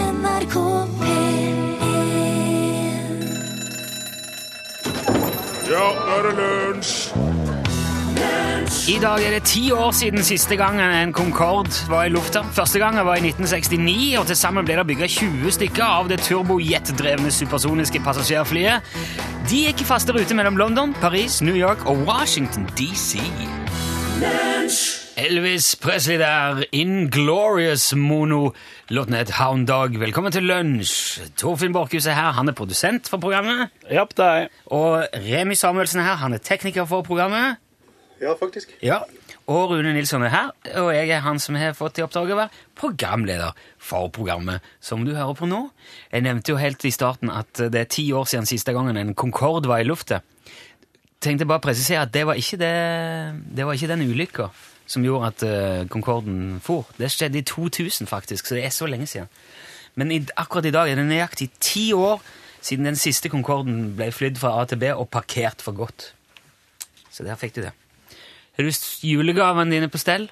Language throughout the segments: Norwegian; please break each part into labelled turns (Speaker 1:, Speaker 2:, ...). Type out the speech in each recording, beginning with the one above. Speaker 1: NRK P1
Speaker 2: Ja, nå er det lunsj!
Speaker 3: I dag er det ti år siden siste gang en Concorde var i lufta. Første gang var i 1969, og til sammen ble det bygga 20 stykker av det turbojet-drevne supersoniske passasjerflyet. De gikk i faste ruter mellom London, Paris, New York og Washington DC. Elvis Presley der, Inglorious Mono. Låten het Hound Dog. Velkommen til lunsj. Torfinn Borchhus er her, han er produsent for programmet.
Speaker 4: Ja, det er jeg.
Speaker 3: Og Remi Samuelsen er her, han er tekniker for programmet.
Speaker 5: Ja, faktisk.
Speaker 3: Ja, og Rune Nilsson er her, og jeg er han som har fått i oppdrag å være programleder for programmet som du hører på nå. Jeg nevnte jo helt i starten at det er ti år siden siste gangen en Concorde var i luftet. Tenkte bare å presisere at det var ikke, det, det var ikke den ulykka som gjorde at eh, Concorden for. Det skjedde i 2000 faktisk, så det er så lenge siden. Men i, akkurat i dag er det nøyaktig ti år siden den siste Concorden ble flydd fra A til B og parkert for godt. Så der fikk du det. Har du s- julegavene dine på stell?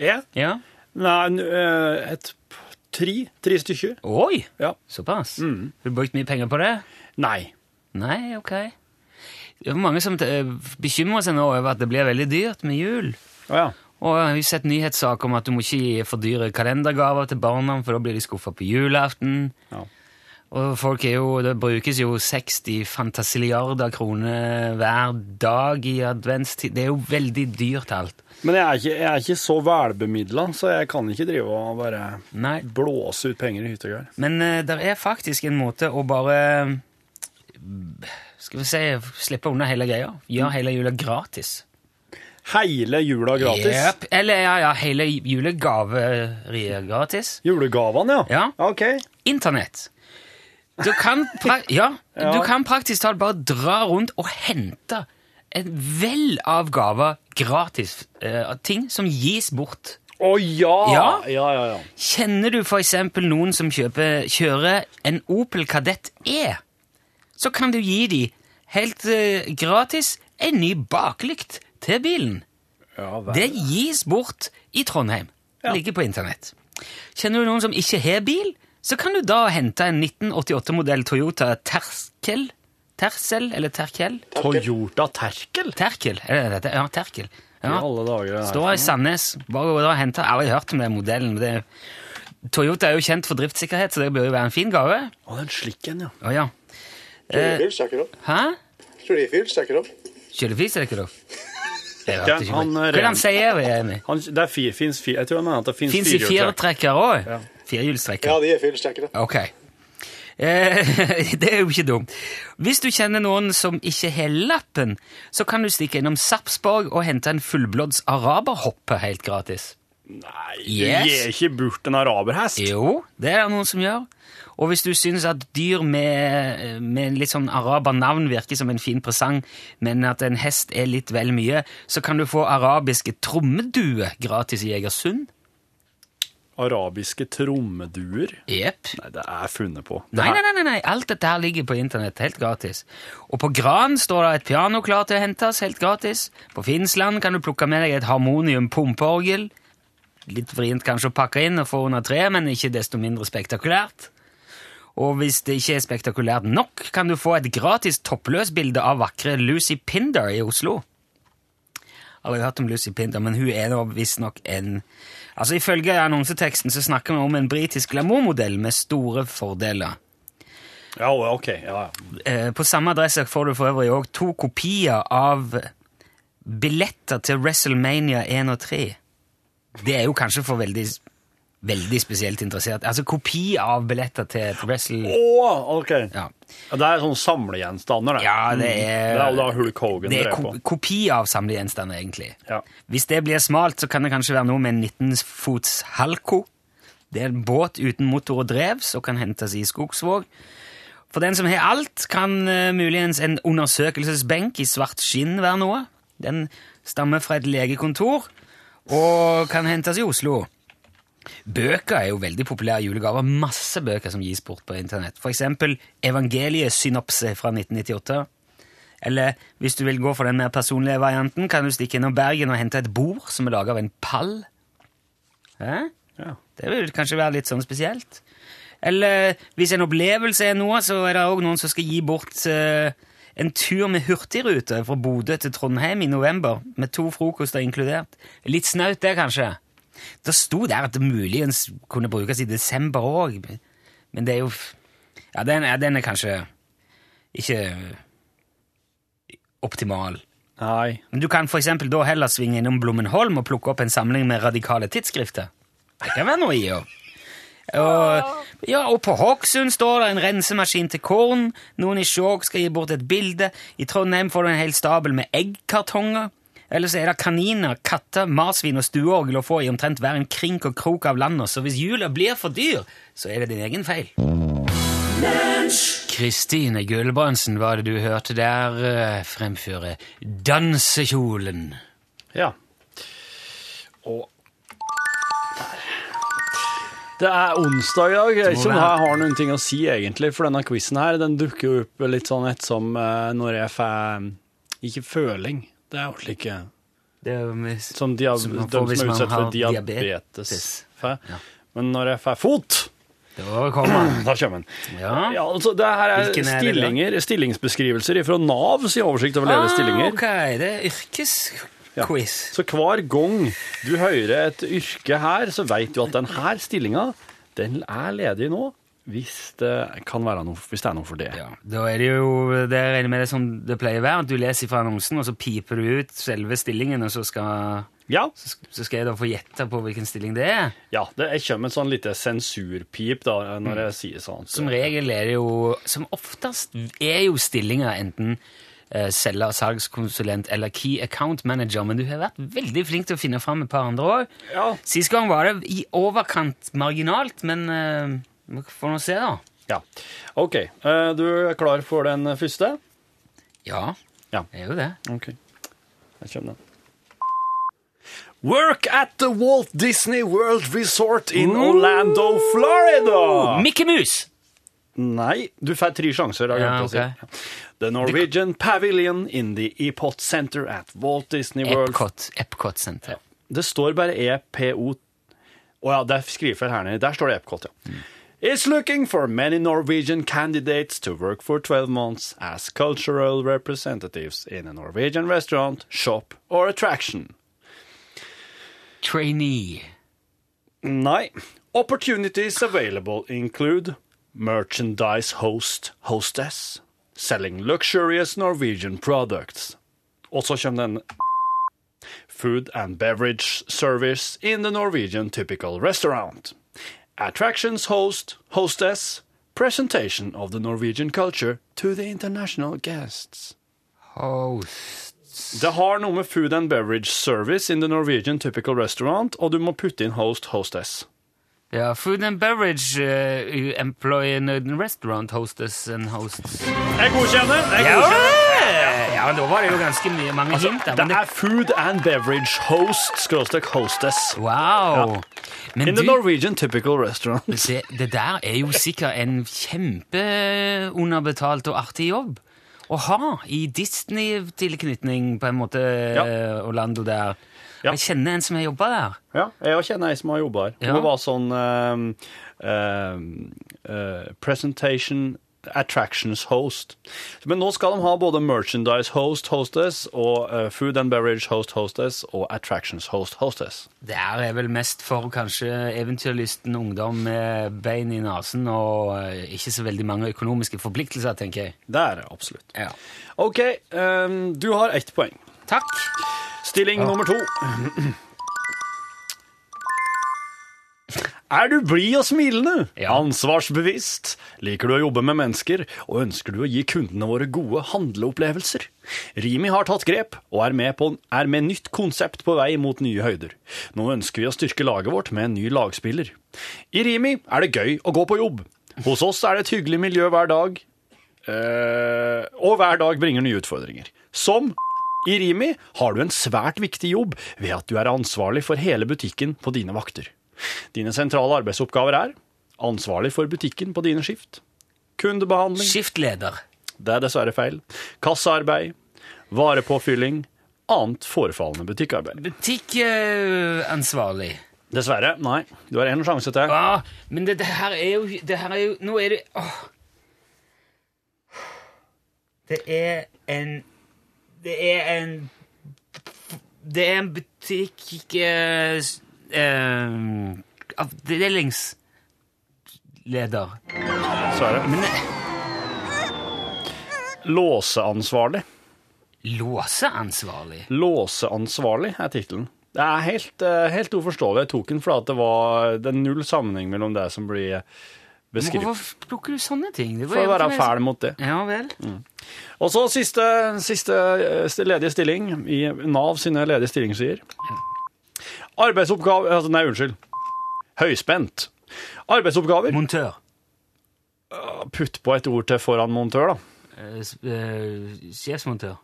Speaker 4: Ja?
Speaker 3: Ja.
Speaker 4: Nei, n- eh, et p- tre. Tre stykker.
Speaker 3: Oi!
Speaker 4: Ja.
Speaker 3: Såpass? Har du brukt mye penger på det?
Speaker 4: Nei.
Speaker 3: Nei, ok. Det er mange som eh, bekymrer seg nå over at det blir veldig dyrt med jul.
Speaker 4: Å ja.
Speaker 3: Og jeg har jo sett nyhetssaker om at du må ikke gi for dyre kalendergaver til barna, for da blir de skuffa på julaften.
Speaker 4: Ja.
Speaker 3: Og folk er jo, det brukes jo 60 fantasiliarder kroner hver dag i adventstid. Det er jo veldig dyrt alt.
Speaker 4: Men jeg er ikke, jeg er ikke så velbemidla, så jeg kan ikke drive og bare
Speaker 3: Nei.
Speaker 4: blåse ut penger i hytte og gevær.
Speaker 3: Men det er faktisk en måte å bare eh, Skal vi si slippe unna hele greia. Gjøre hele jula gratis.
Speaker 4: Hele jula gratis.
Speaker 3: Jep. Eller ja, ja, hele julegaveriet gratis.
Speaker 4: Julegavene, ja.
Speaker 3: Ja.
Speaker 4: OK.
Speaker 3: Internett. Du kan, pra ja,
Speaker 4: Ja.
Speaker 3: du kan praktisk talt bare dra rundt og hente et vell av gaver gratis. eh, av ting som gis bort.
Speaker 4: Å ja.
Speaker 3: Ja.
Speaker 4: ja! Ja, ja,
Speaker 3: Kjenner du for eksempel noen som kjøper, kjører en Opel Kadett E, så kan du gi dem helt eh, gratis en ny baklykt til bilen.
Speaker 4: ja. vel.
Speaker 3: Det gis bort i Trondheim. Det Ligger på internett. Kjenner du noen som ikke har bil, så kan du da hente en 1988-modell Toyota Terkel. Tersel, eller Terkel?
Speaker 4: Toyota Terkel?
Speaker 3: Terkel, er det dette? Ja, Terkel.
Speaker 4: I
Speaker 3: Ja.
Speaker 4: alle dager. det er
Speaker 3: Står i Sandnes. Bare gå der og hente. Jeg har aldri hørt om den modellen. men Det Toyota er jo kjent for driftssikkerhet, så det bør jo være en fin gave.
Speaker 4: Å, den slikken, ja.
Speaker 3: Å ja.
Speaker 5: Kjørefyr sjekker opp.
Speaker 3: Hæ?
Speaker 5: Kjørefyr sjekker opp.
Speaker 3: Kjølefis er det ikke, da? Jeg hørte
Speaker 4: Ja,
Speaker 3: ikke.
Speaker 4: han,
Speaker 3: Hva
Speaker 4: eh,
Speaker 3: er det han sier? Remi?
Speaker 4: Han, det er fire, finnes fire, jeg tror jeg mener at det finnes
Speaker 3: Fins i
Speaker 4: firehjulstrekk.
Speaker 3: firetrekker òg? Firehjulstrekker.
Speaker 5: Ja, de er fyrsjekkere.
Speaker 3: Ok. Eh, det er jo ikke dumt. Hvis du kjenner noen som ikke har lappen, så kan du stikke innom Sarpsborg og hente en fullblåds araberhoppe helt gratis.
Speaker 4: Nei, du
Speaker 3: Yes.
Speaker 4: gir ikke bort en araberhest.
Speaker 3: Jo, det er det noen som gjør. Og hvis du syns at dyr med, med litt sånn arabernavn virker som en fin presang, men at en hest er litt vel mye, så kan du få arabiske trommedue gratis i Egersund.
Speaker 4: Arabiske trommeduer.
Speaker 3: Jepp.
Speaker 4: Nei, det er funnet på. Det
Speaker 3: Nei,
Speaker 4: her-
Speaker 3: nei, nei, nei, alt dette her ligger på internett, helt gratis. Og på Gran står det et piano klar til å hentes, helt gratis. På Finnsland kan du plukke med deg et harmonium pumpeorgel. Litt vrient kanskje å pakke inn og få under treet, men ikke desto mindre spektakulært. Og hvis det ikke er spektakulært nok, kan du få et gratis toppløsbilde av vakre Lucy Pinder i Oslo. Aldri hørt om Lucy Pinder, men hun er nå visstnok en Altså, Ifølge annonseteksten så snakker vi om en britisk glamourmodell med store fordeler.
Speaker 4: Ja, ok. Ja, ja.
Speaker 3: Eh, På samme adresse får du for øvrig òg to kopier av billetter til WrestleMania 1 og 3. Det er jo kanskje for veldig, veldig spesielt interessert. Altså kopi av billetter til Wrestle...
Speaker 4: Å, ok.
Speaker 3: Ja.
Speaker 4: Ja, Det er sånne samlegjenstander, det. Mm.
Speaker 3: Ja, det
Speaker 4: Det
Speaker 3: er
Speaker 4: er jo da Hulk Hogan
Speaker 3: Det er
Speaker 4: drev
Speaker 3: ko
Speaker 4: på.
Speaker 3: kopi av samlegjenstander, egentlig.
Speaker 4: Ja.
Speaker 3: Hvis det blir smalt, så kan det kanskje være noe med en 19 fots halko. Det er en båt uten motor og drev, som kan hentes i Skogsvåg. For den som har alt, kan eh, muligens en undersøkelsesbenk i svart skinn være noe. Den stammer fra et legekontor og kan hentes i Oslo. Bøker er jo veldig populære julegaver. Masse bøker som gis bort på internett. For eksempel Evangeliesynopse fra 1998. Eller hvis du vil gå for den mer personlige varianten, kan du stikke innom Bergen og hente et bord som er laga av en pall. Hæ?
Speaker 4: Ja.
Speaker 3: Det vil kanskje være litt sånn spesielt. Eller hvis en opplevelse er noe, så er det òg noen som skal gi bort eh, en tur med hurtigrute fra Bodø til Trondheim i november, med to frokoster inkludert. Litt snaut det, kanskje. Det sto der at det muligens kunne brukes i desember òg, men det er jo f- Ja, den, ja, den er kanskje ikke optimal.
Speaker 6: Nei.
Speaker 3: Men du kan for eksempel da heller svinge innom Blommenholm og plukke opp en samling med radikale tidsskrifter. Det kan være noe i jo. Og, ja, og på Hokksund står det en rensemaskin til korn, noen i Skjåk skal gi bort et bilde, i Trondheim får du en hel stabel med eggkartonger, eller så er det kaniner, katter, marsvin og stueorgel å få i omtrent hver en krink og krok av landet, så hvis jula blir for dyr, så er det din egen feil. Kristine Gulbrandsen var det du hørte der eh, fremføre dansekjolen.
Speaker 6: Ja. Og Det er onsdag i dag. Jeg vet ikke om jeg har noen ting å si, egentlig, for denne quizen her den dukker jo opp litt sånn ettersom eh, når jeg får Ikke føling, det er ordentlig ikke
Speaker 3: Det er jo mest-
Speaker 6: Som, dia
Speaker 3: Som man får
Speaker 6: de som
Speaker 3: hvis
Speaker 6: er
Speaker 3: man
Speaker 6: utsatt
Speaker 3: har
Speaker 6: for diabetes.
Speaker 3: diabetes.
Speaker 6: får.
Speaker 3: Ja.
Speaker 6: Men når jeg får fot,
Speaker 3: Da kommer han.
Speaker 6: da kommer den.
Speaker 3: Ja.
Speaker 6: Ja, altså, det her er,
Speaker 3: Hvilken er det, da?
Speaker 6: stillinger, stillingsbeskrivelser fra Nav sin oversikt over ledige
Speaker 3: Ah,
Speaker 6: stillinger.
Speaker 3: ok, det er yrkesquiz.
Speaker 6: Så hver gang du hører et yrke her, så vet du at denne stillinga den er ledig nå, hvis det kan være noe, hvis det er noe for det.
Speaker 3: Ja, da er det jo det regner jeg med det som det pleier å være. at Du leser fra annonsen, og så piper du ut selve stillingen, og så skal,
Speaker 6: Ja,
Speaker 3: så sk- så skal jeg da få gjette på hvilken stilling det er.
Speaker 6: ja det jeg kommer en sånn lite sensurpip da, når jeg sier sånn. sånt.
Speaker 3: Som regel er det jo Som oftest er jo stillinger enten eh, selger, salgskonsulent eller key account manager, men du har vært veldig flink til å finne fram et par andre òg.
Speaker 6: Ja.
Speaker 3: Sist gang var det i overkant marginalt, men eh, vi får nå se, da.
Speaker 6: ja. OK. eh, Du er klar for den første?
Speaker 3: Ja,
Speaker 6: Ja.
Speaker 3: det er jo det.
Speaker 6: OK. Her kommer den. Work at the Walt Disney World Resort in Orlando, Florida!
Speaker 3: Mikke Mus!
Speaker 6: Nei, du får tre sjanser. har jeg
Speaker 3: Ja,
Speaker 6: glemt å si.
Speaker 3: ok.
Speaker 6: The Norwegian Pavilion in the Epcot Center at Walt Disney World.
Speaker 3: Epcot, Epcot Center.
Speaker 6: Det står bare EPO. Å ja, det er skrivefeil her nede. Der står det Epcot, ja.
Speaker 3: Mm.
Speaker 6: Is looking for many Norwegian candidates to work for 12 months as cultural representatives in a Norwegian restaurant, shop or attraction.
Speaker 3: Trainee.
Speaker 6: Nei. Opportunities available include merchandise host, hostess, selling luxurious Norwegian products. Og så kommer den Food and beverage service in the Norwegian typical restaurant. Attractions host, hostess, presentation of the Norwegian culture to the international guests.
Speaker 3: Host.
Speaker 6: Det har noe med food and beverage service in the Norwegian typical restaurant, og du må putte inn host, hostess.
Speaker 3: Ja, food and beverage uh, employee and restaurant hostess and hosts.
Speaker 6: Jeg godkjenner. Jeg
Speaker 3: Ja,
Speaker 6: godkjenner.
Speaker 3: ja, da var det jo ganske mye, mange hint. Da,
Speaker 6: Altså, Det
Speaker 3: men det,
Speaker 6: er food and beverage host, skråstrek hostess.
Speaker 3: wow! Men
Speaker 6: In the
Speaker 3: du,
Speaker 6: Norwegian typical restaurant.
Speaker 3: det, det der er jo sikkert en kjempeunderbetalt og artig jobb å ha i Disney-tilknytning, på en måte, eh, Orlando der.
Speaker 6: Ja.
Speaker 3: Jeg kjenner en som har jobba der.
Speaker 6: Ja, jeg kjenner ei som har jobba her.
Speaker 3: Ja.
Speaker 6: Hun var sånn ehm, ehm, eh, Presentation Attractions host. Men nå skal de ha både merchandise host, hostess, og eh, food and beverage host, hostess, og attractions host, hostess.
Speaker 3: Det her er vel mest for kanskje eventyrlysten ungdom med bein i nesen og eh, ikke så veldig mange økonomiske forpliktelser, tenker jeg.
Speaker 6: Det er det absolutt.
Speaker 3: Ja.
Speaker 6: OK, ehm, du har ett poeng.
Speaker 3: Takk.
Speaker 6: Stilling nummer to. Er du blid og smilende?
Speaker 3: Ja.
Speaker 6: Ansvarsbevisst? Liker du å jobbe med mennesker? Og ønsker du å gi kundene våre gode handleopplevelser? Rimi har tatt grep, og er med, på, er med nytt konsept på vei mot nye høyder. Nå ønsker vi å styrke laget vårt med en ny lagspiller. I Rimi er det gøy å gå på jobb. Hos oss er det et hyggelig miljø hver dag, Eh, og hver dag bringer nye utfordringer. Som i Rimi har du en svært viktig jobb ved at du er ansvarlig for hele butikken på dine vakter. Dine sentrale arbeidsoppgaver er ansvarlig for butikken på dine skift, kundebehandling
Speaker 3: Skiftleder.
Speaker 6: det er dessverre feil, kassearbeid, varepåfylling, annet forefallende butikkarbeid.
Speaker 3: Butikkansvarlig.
Speaker 6: Dessverre. Nei. Du har én sjanse til.
Speaker 3: Ah, men det, det her er jo Det her er jo Nå er det åh. Det er en Det er en Det er en butikk eh, s- eh, av- Delingsleder.
Speaker 6: Dessverre. Låseansvarlig.
Speaker 3: Låseansvarlig?
Speaker 6: Låseansvarlig er tittelen. Det er helt, eh, helt uforståelig. Jeg tok den fordi at det var det er null sammenheng mellom det som blir
Speaker 3: Men
Speaker 6: beskrevet.
Speaker 3: Hvorfor plukker du sånne ting? Det var
Speaker 6: For å
Speaker 3: jo
Speaker 6: være
Speaker 3: ikke mer-
Speaker 6: fæl mot det.
Speaker 3: Ja vel.
Speaker 6: Og så siste, siste eh, st- ledige stilling i Nav sine ledige stillingssider. Arbeidsoppgave altså, Nei, unnskyld. Høyspent. Arbeidsoppgaver
Speaker 3: Montør.
Speaker 6: Putt på et ord til foran montør, da.
Speaker 3: Eh, s- eh, Sjefsmontør.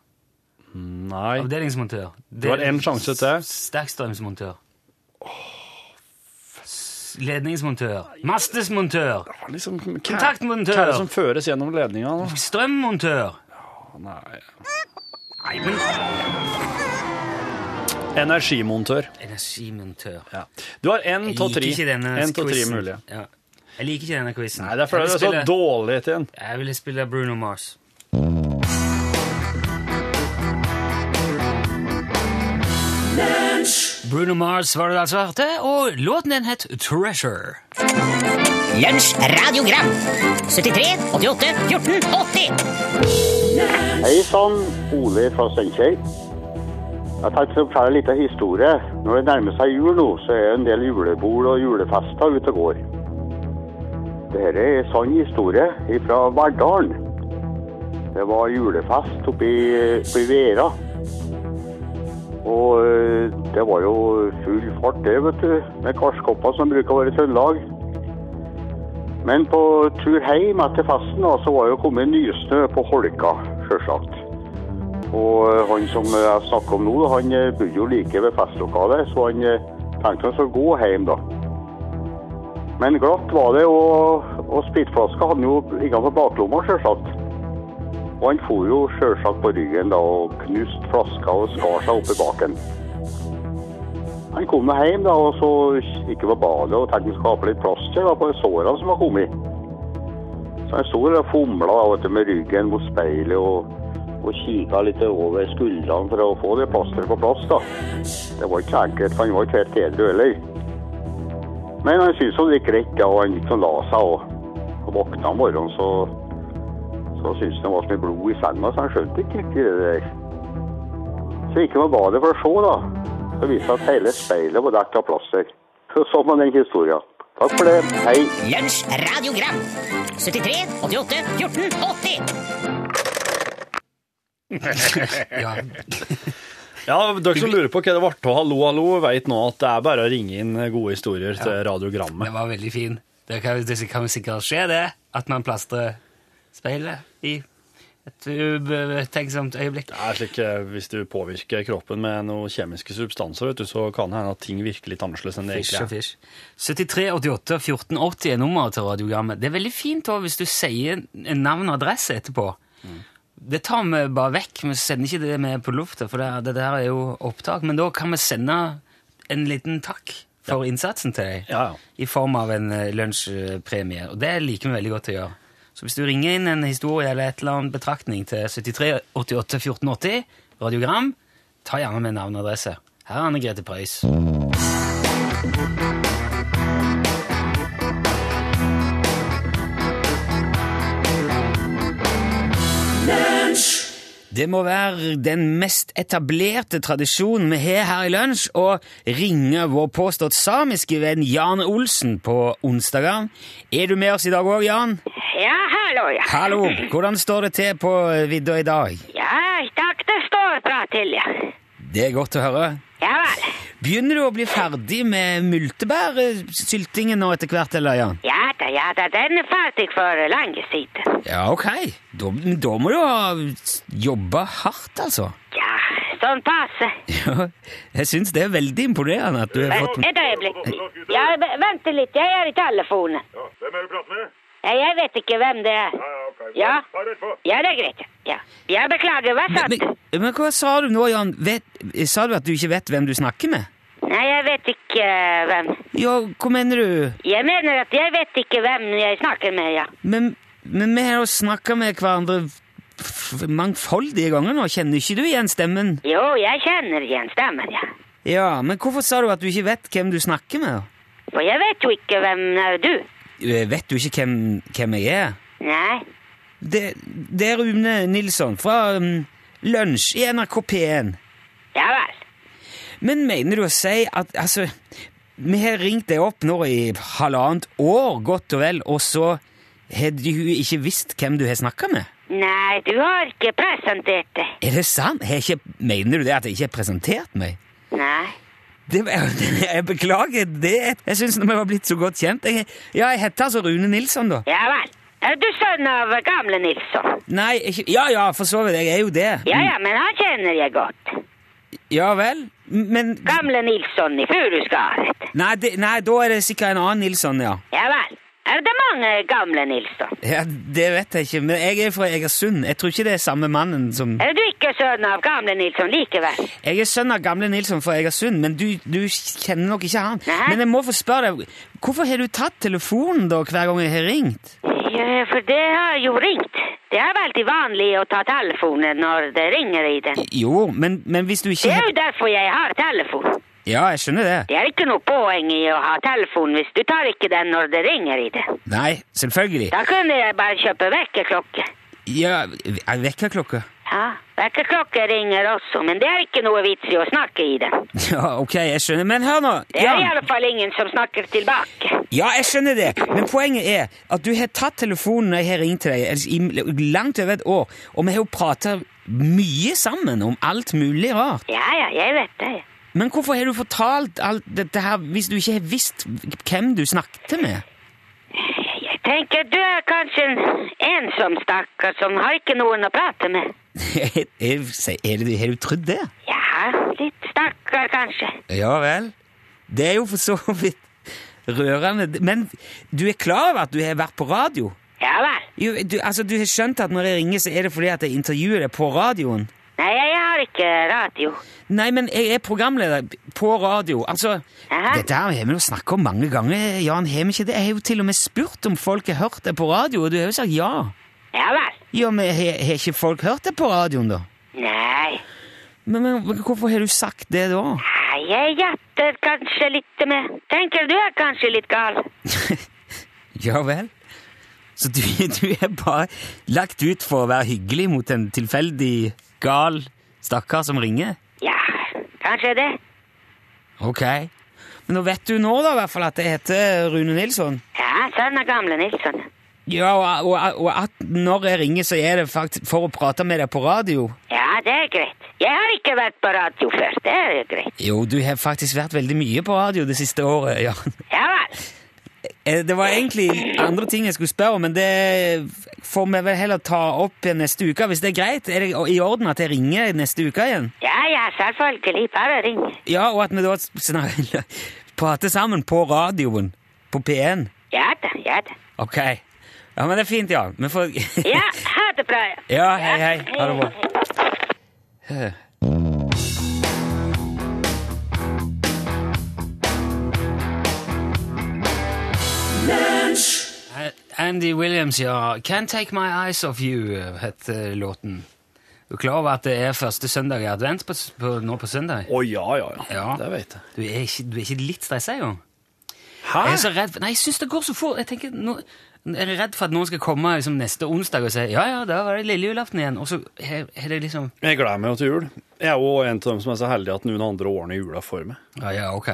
Speaker 6: Nei.
Speaker 3: Avdelingsmontør.
Speaker 6: Du har en sjanse til.
Speaker 3: Sterkstrømsmontør. S- Ledningsmontør. Mastesmontør.
Speaker 6: Liksom, hva-
Speaker 3: Kontaktmontør.
Speaker 6: Hva er det som føres gjennom ledninga? nå?
Speaker 3: Strømmontør.
Speaker 6: Nei.
Speaker 3: Nei, men
Speaker 6: Energimontør.
Speaker 3: Energimontør.
Speaker 6: Ja. Du har én
Speaker 3: Jeg
Speaker 6: av
Speaker 3: liker
Speaker 6: tre.
Speaker 3: ikke denne
Speaker 6: En av tre
Speaker 3: quizen.
Speaker 6: mulige.
Speaker 3: Ja. Jeg liker ikke denne quizen.
Speaker 6: Nei, det er fordi
Speaker 3: jeg,
Speaker 6: det
Speaker 3: vil
Speaker 6: er så
Speaker 3: spille-
Speaker 6: dårlig til en.
Speaker 3: jeg vil spille Bruno Mars. Bruno Mars var det du altså hørte, og låten den het Treasure.
Speaker 1: Lunsj, radiogram 73, 88, 14, 80
Speaker 7: Hei sann, Ole fra Steinkjer. Jeg tenkte å fortelle litt av historie. Når det nærmer seg jul nå, så er det en del julebord og julefester ute og går. Dette er en sann historie fra Verdalen. Det var julefest oppe i, oppe i Vera. Og eh, det var jo full fart det, vet du, med karskopper som bruker å være i Trøndelag. Men på tur hjem etter festen da, så var det jo kommet nysnø på Holka, sjølsagt. Og eh, han som eh, jeg snakker om nå, da, han eh, bodde jo like ved festlokalet, så han eh, tenkte han skulle gå hjem, da. Men glatt var det, og, og spritflaska hadde han jo innenfor baklomma, sjølsagt. Og han for jo sjølsagt på ryggen da, og knuste flaska og skar seg oppi baken. Han kom nå hjem da, og så gikk jeg på badet og tenkte han skulle ha på litt plaster da, på sårene som var kommet. Så han sto der og fomla da, vet du, med ryggen mot speilet og, og kikka litt over skuldrene for å få det plasteret på plass. da. Det var ikke enkelt, for han var ikke helt edru heller. Men han syntes jo det gikk greit, da, og han gikk og la seg. og, og Våkna om morgenen, så, så syntes han det var så mye blod i senga, så han skjønte ikke riktig det der. Så gikk han på badet for å se, da. Så viste det seg at hele speilet var dekket av plaster. Så sånn var den historien. Takk for det. Hei.
Speaker 1: Lunsj, radiogram 73, 88, 14, 80
Speaker 3: Ja,
Speaker 6: Ja, Dere som lurer på hva det ble av Hallo, hallo, vet nå at det er bare å ringe inn gode historier til
Speaker 3: Den
Speaker 6: radiogrammet.
Speaker 3: var veldig fin. Det kan, det kan jo sikkert skje, det. At man plastrer speilet i et ubetenksomt øyeblikk.
Speaker 6: Det er slik eh, Hvis du påvirker kroppen med noen kjemiske substanser, vet du, så kan det hende at ting virker litt annerledes enn det
Speaker 3: Fish og
Speaker 6: egentlig er.
Speaker 3: fish. 73 88 14 80 er nummeret til radiogrammet. Det er veldig fint også, hvis du sier en navn og adresse etterpå. Det tar vi bare vekk. Vi sender ikke det med på lufta, for det, det der er jo opptak. Men da kan vi sende en liten takk for innsatsen til deg.
Speaker 6: Ja, ja.
Speaker 3: I form av en eh, lunsjpremie. Og det liker vi veldig godt å gjøre. Så hvis du ringer inn en historie eller et eller annet betraktning til 73 88 14 80, radiogram, ta gjerne med navn og adresse. Her er Anne Grete Preus. Det må være den mest etablerte tradisjonen vi har her i lunsj, å ringe vår påstått samiske venn Jan Olsen på onsdager. Er du med oss i dag òg, Jan?
Speaker 8: Ja, hallo, ja.
Speaker 3: Hallo, hvordan står det til på vidda i dag?
Speaker 8: Ja, i dag det står bra til, ja.
Speaker 3: Det er godt å høre.
Speaker 8: Ja vel.
Speaker 3: Begynner du å bli ferdig med multebærsyltingen nå etter hvert, eller, Jan?
Speaker 8: Ja da, ja da, den er ferdig for lenge siden.
Speaker 3: Ja, ok. Da, da må du ha jobba hardt, altså.
Speaker 8: Ja, sånn passe.
Speaker 3: Ja, jeg syns det er veldig imponerende at du har
Speaker 8: Vent
Speaker 3: fått
Speaker 8: Eh, et øyeblikk. Ja, v- vent litt, jeg er i telefonen.
Speaker 2: Ja, hvem er det du prater med?
Speaker 8: Ja, jeg vet ikke hvem det er.
Speaker 2: Ja, ja, ok.
Speaker 8: Ja,
Speaker 2: Ta rett på.
Speaker 8: ja det er greit. Ja, ja beklager, hva sa
Speaker 3: Men,
Speaker 8: du?
Speaker 3: men, men hva sa du nå, Jan? Vet, sa du at du ikke vet hvem du snakker med?
Speaker 8: Nei, jeg vet ikke eh, hvem.
Speaker 3: Ja, hva mener du?
Speaker 8: Jeg mener at jeg vet ikke hvem jeg snakker med, ja.
Speaker 3: Men, men vi har jo snakka med hverandre f- f- mangfoldige ganger nå. Kjenner ikke du igjen stemmen?
Speaker 8: Jo, jeg kjenner igjen stemmen, ja.
Speaker 3: Ja, men hvorfor sa du at du ikke vet hvem du snakker med? da?
Speaker 8: For jeg vet jo ikke hvem er du.
Speaker 3: Eh, Vet du ikke hvem, hvem jeg er?
Speaker 8: Nei.
Speaker 3: Det, det er Rune Nilsson fra um, Lunsj i NRK P1.
Speaker 8: Ja vel.
Speaker 3: Men mener du å si at altså, Vi har ringt deg opp nå i halvannet år, godt og vel, og så har du ikke visst hvem du har snakka med?
Speaker 8: Nei, du har ikke presentert det.
Speaker 3: Er det sant? Har ikke, mener du det at jeg ikke har presentert meg?
Speaker 8: Nei.
Speaker 3: Det, jeg beklager det. Jeg syns vi var blitt så godt kjent. Jeg, ja, jeg heter altså Rune Nilsson, da.
Speaker 8: Ja vel. Er du sønn av gamle Nilsson?
Speaker 3: Nei, ikke, ja ja, for så vidt. Jeg er jo det.
Speaker 8: Ja ja, men han kjenner jeg godt.
Speaker 3: Ja vel? Men
Speaker 8: Gamle Nilsson i Furuskaret.
Speaker 3: nei, det, nei, da er det sikkert en annen Nilsson, ja.
Speaker 8: Ja vel. Er det mange gamle Nilsson?
Speaker 3: Ja, Det vet jeg ikke, men jeg er fra Egersund. Jeg tror ikke det er samme mannen som
Speaker 8: Er du ikke sønn av gamle Nilsson likevel?
Speaker 3: Jeg er sønn av gamle Nilsson fra Egersund, men du, du kjenner nok ikke han.
Speaker 8: Nei.
Speaker 3: Men jeg må få spørre deg, hvorfor har du tatt telefonen da hver gang jeg har ringt?
Speaker 8: Ja, for det har jo ringt. Det er veldig vanlig å ta telefonen når det ringer i den.
Speaker 3: Jo, men, men hvis du
Speaker 8: Det
Speaker 3: ikke
Speaker 8: er jo derfor jeg har telefon.
Speaker 3: Ja, jeg skjønner det.
Speaker 8: Det er ikke noe poeng i å ha telefon hvis du tar ikke den når det ringer i den.
Speaker 3: Nei, selvfølgelig.
Speaker 8: Da kunne jeg bare kjøpe vekkerklokke.
Speaker 3: Ja, jeg vekker klokka.
Speaker 8: Ja, vekkerklokke ringer også, men det er ikke noe vits i å snakke i den.
Speaker 3: Ja, ok, jeg skjønner. Men hør nå.
Speaker 8: Det er i
Speaker 3: Jan.
Speaker 8: alle fall ingen som snakker tilbake.
Speaker 3: Ja, jeg skjønner det, men poenget er at du har tatt telefonen når jeg har ringt til deg altså, i langt over et år, og vi har jo prata mye sammen om alt mulig rart.
Speaker 8: Ja, ja, jeg vet det.
Speaker 3: Men hvorfor har du fortalt alt dette her hvis du ikke har visst hvem du snakket med?
Speaker 8: Jeg tenker du er kanskje en ensom stakkar som har ikke noen å prate med.
Speaker 3: Er- er- se- er det- Har du trodd det?
Speaker 8: Ja, litt stakkar kanskje.
Speaker 3: Ja vel. Det er jo for så vidt rørende. Men du er klar over at du har vært på radio?
Speaker 8: Ja vel.
Speaker 3: Jo, du, altså, du har skjønt at når jeg ringer, så er det fordi at jeg intervjuer deg på radioen?
Speaker 8: Nei, jeg har ikke radio.
Speaker 3: Nei, men jeg er programleder på radio. Altså,
Speaker 8: Hæ?
Speaker 3: Dette her har vi jo snakket om mange ganger, Jan. Har vi ikke det? Jeg har jo til og med spurt om folk har hørt det på radio, og du har jo sagt ja.
Speaker 8: Ja vel.
Speaker 3: Ja, men har har ikke folk hørt det på radioen, da?
Speaker 8: Nei.
Speaker 3: Men, men men hvorfor har du sagt det da?
Speaker 8: Nei, Jeg gjetter kanskje litt med. Tenker du er kanskje litt gal.
Speaker 3: Ja vel. Så du, du er bare lagt ut for å være hyggelig mot en tilfeldig gal stakkar som ringer?
Speaker 8: Ja, kanskje det.
Speaker 3: Ok. Men nå vet du nå da i hvert fall at jeg heter Rune Nilsson.
Speaker 8: Ja, sønn av gamle Nilsson.
Speaker 3: Ja, og, og, og at når jeg ringer, så er det faktisk for å prate med deg på radio.
Speaker 8: Ja, det er greit. Jeg har ikke vært på radio før. Det er jo greit.
Speaker 3: Jo, du har faktisk vært veldig mye på radio det siste året, Jan.
Speaker 8: Ja vel.
Speaker 3: Eh, Det var egentlig andre ting jeg skulle spørre om, men det får vi vel heller ta opp igjen neste uke. Hvis det er greit, er det i orden at jeg ringer neste uke igjen?
Speaker 8: Ja, ja, selvfølgelig. Bare ring.
Speaker 3: Ja, og at vi da snak- prater sammen på radioen på P1.
Speaker 8: Ja da, ja da.
Speaker 3: Ok. Ja, men det er fint, Jan. Vi får
Speaker 8: Ja, ha det bra.
Speaker 3: Ja, hei, hei. Ha det bra. Andy Williams, ja. Can't Take My Eyes Off You, het eh, låten. Du er klar over at det er første søndag i advent på, s- på, nå på søndag?
Speaker 4: Å ja, ja, ja,
Speaker 3: Ja.
Speaker 4: Det vet jeg.
Speaker 3: Du er ikke, du er ikke litt stressa engang?
Speaker 4: Hæ?
Speaker 3: Jeg er så redd for, Nei, jeg syns det går så fort. Jeg tenker, nå, jeg er redd for at noen skal komme liksom, neste onsdag og si ja, ja, da var det lille julaften igjen. Og så er er det liksom
Speaker 4: Jeg gleder meg jo til jul. Jeg er jo en av dem som er så heldig at noen andre årene i jula får meg.
Speaker 3: Ja, ja, ok.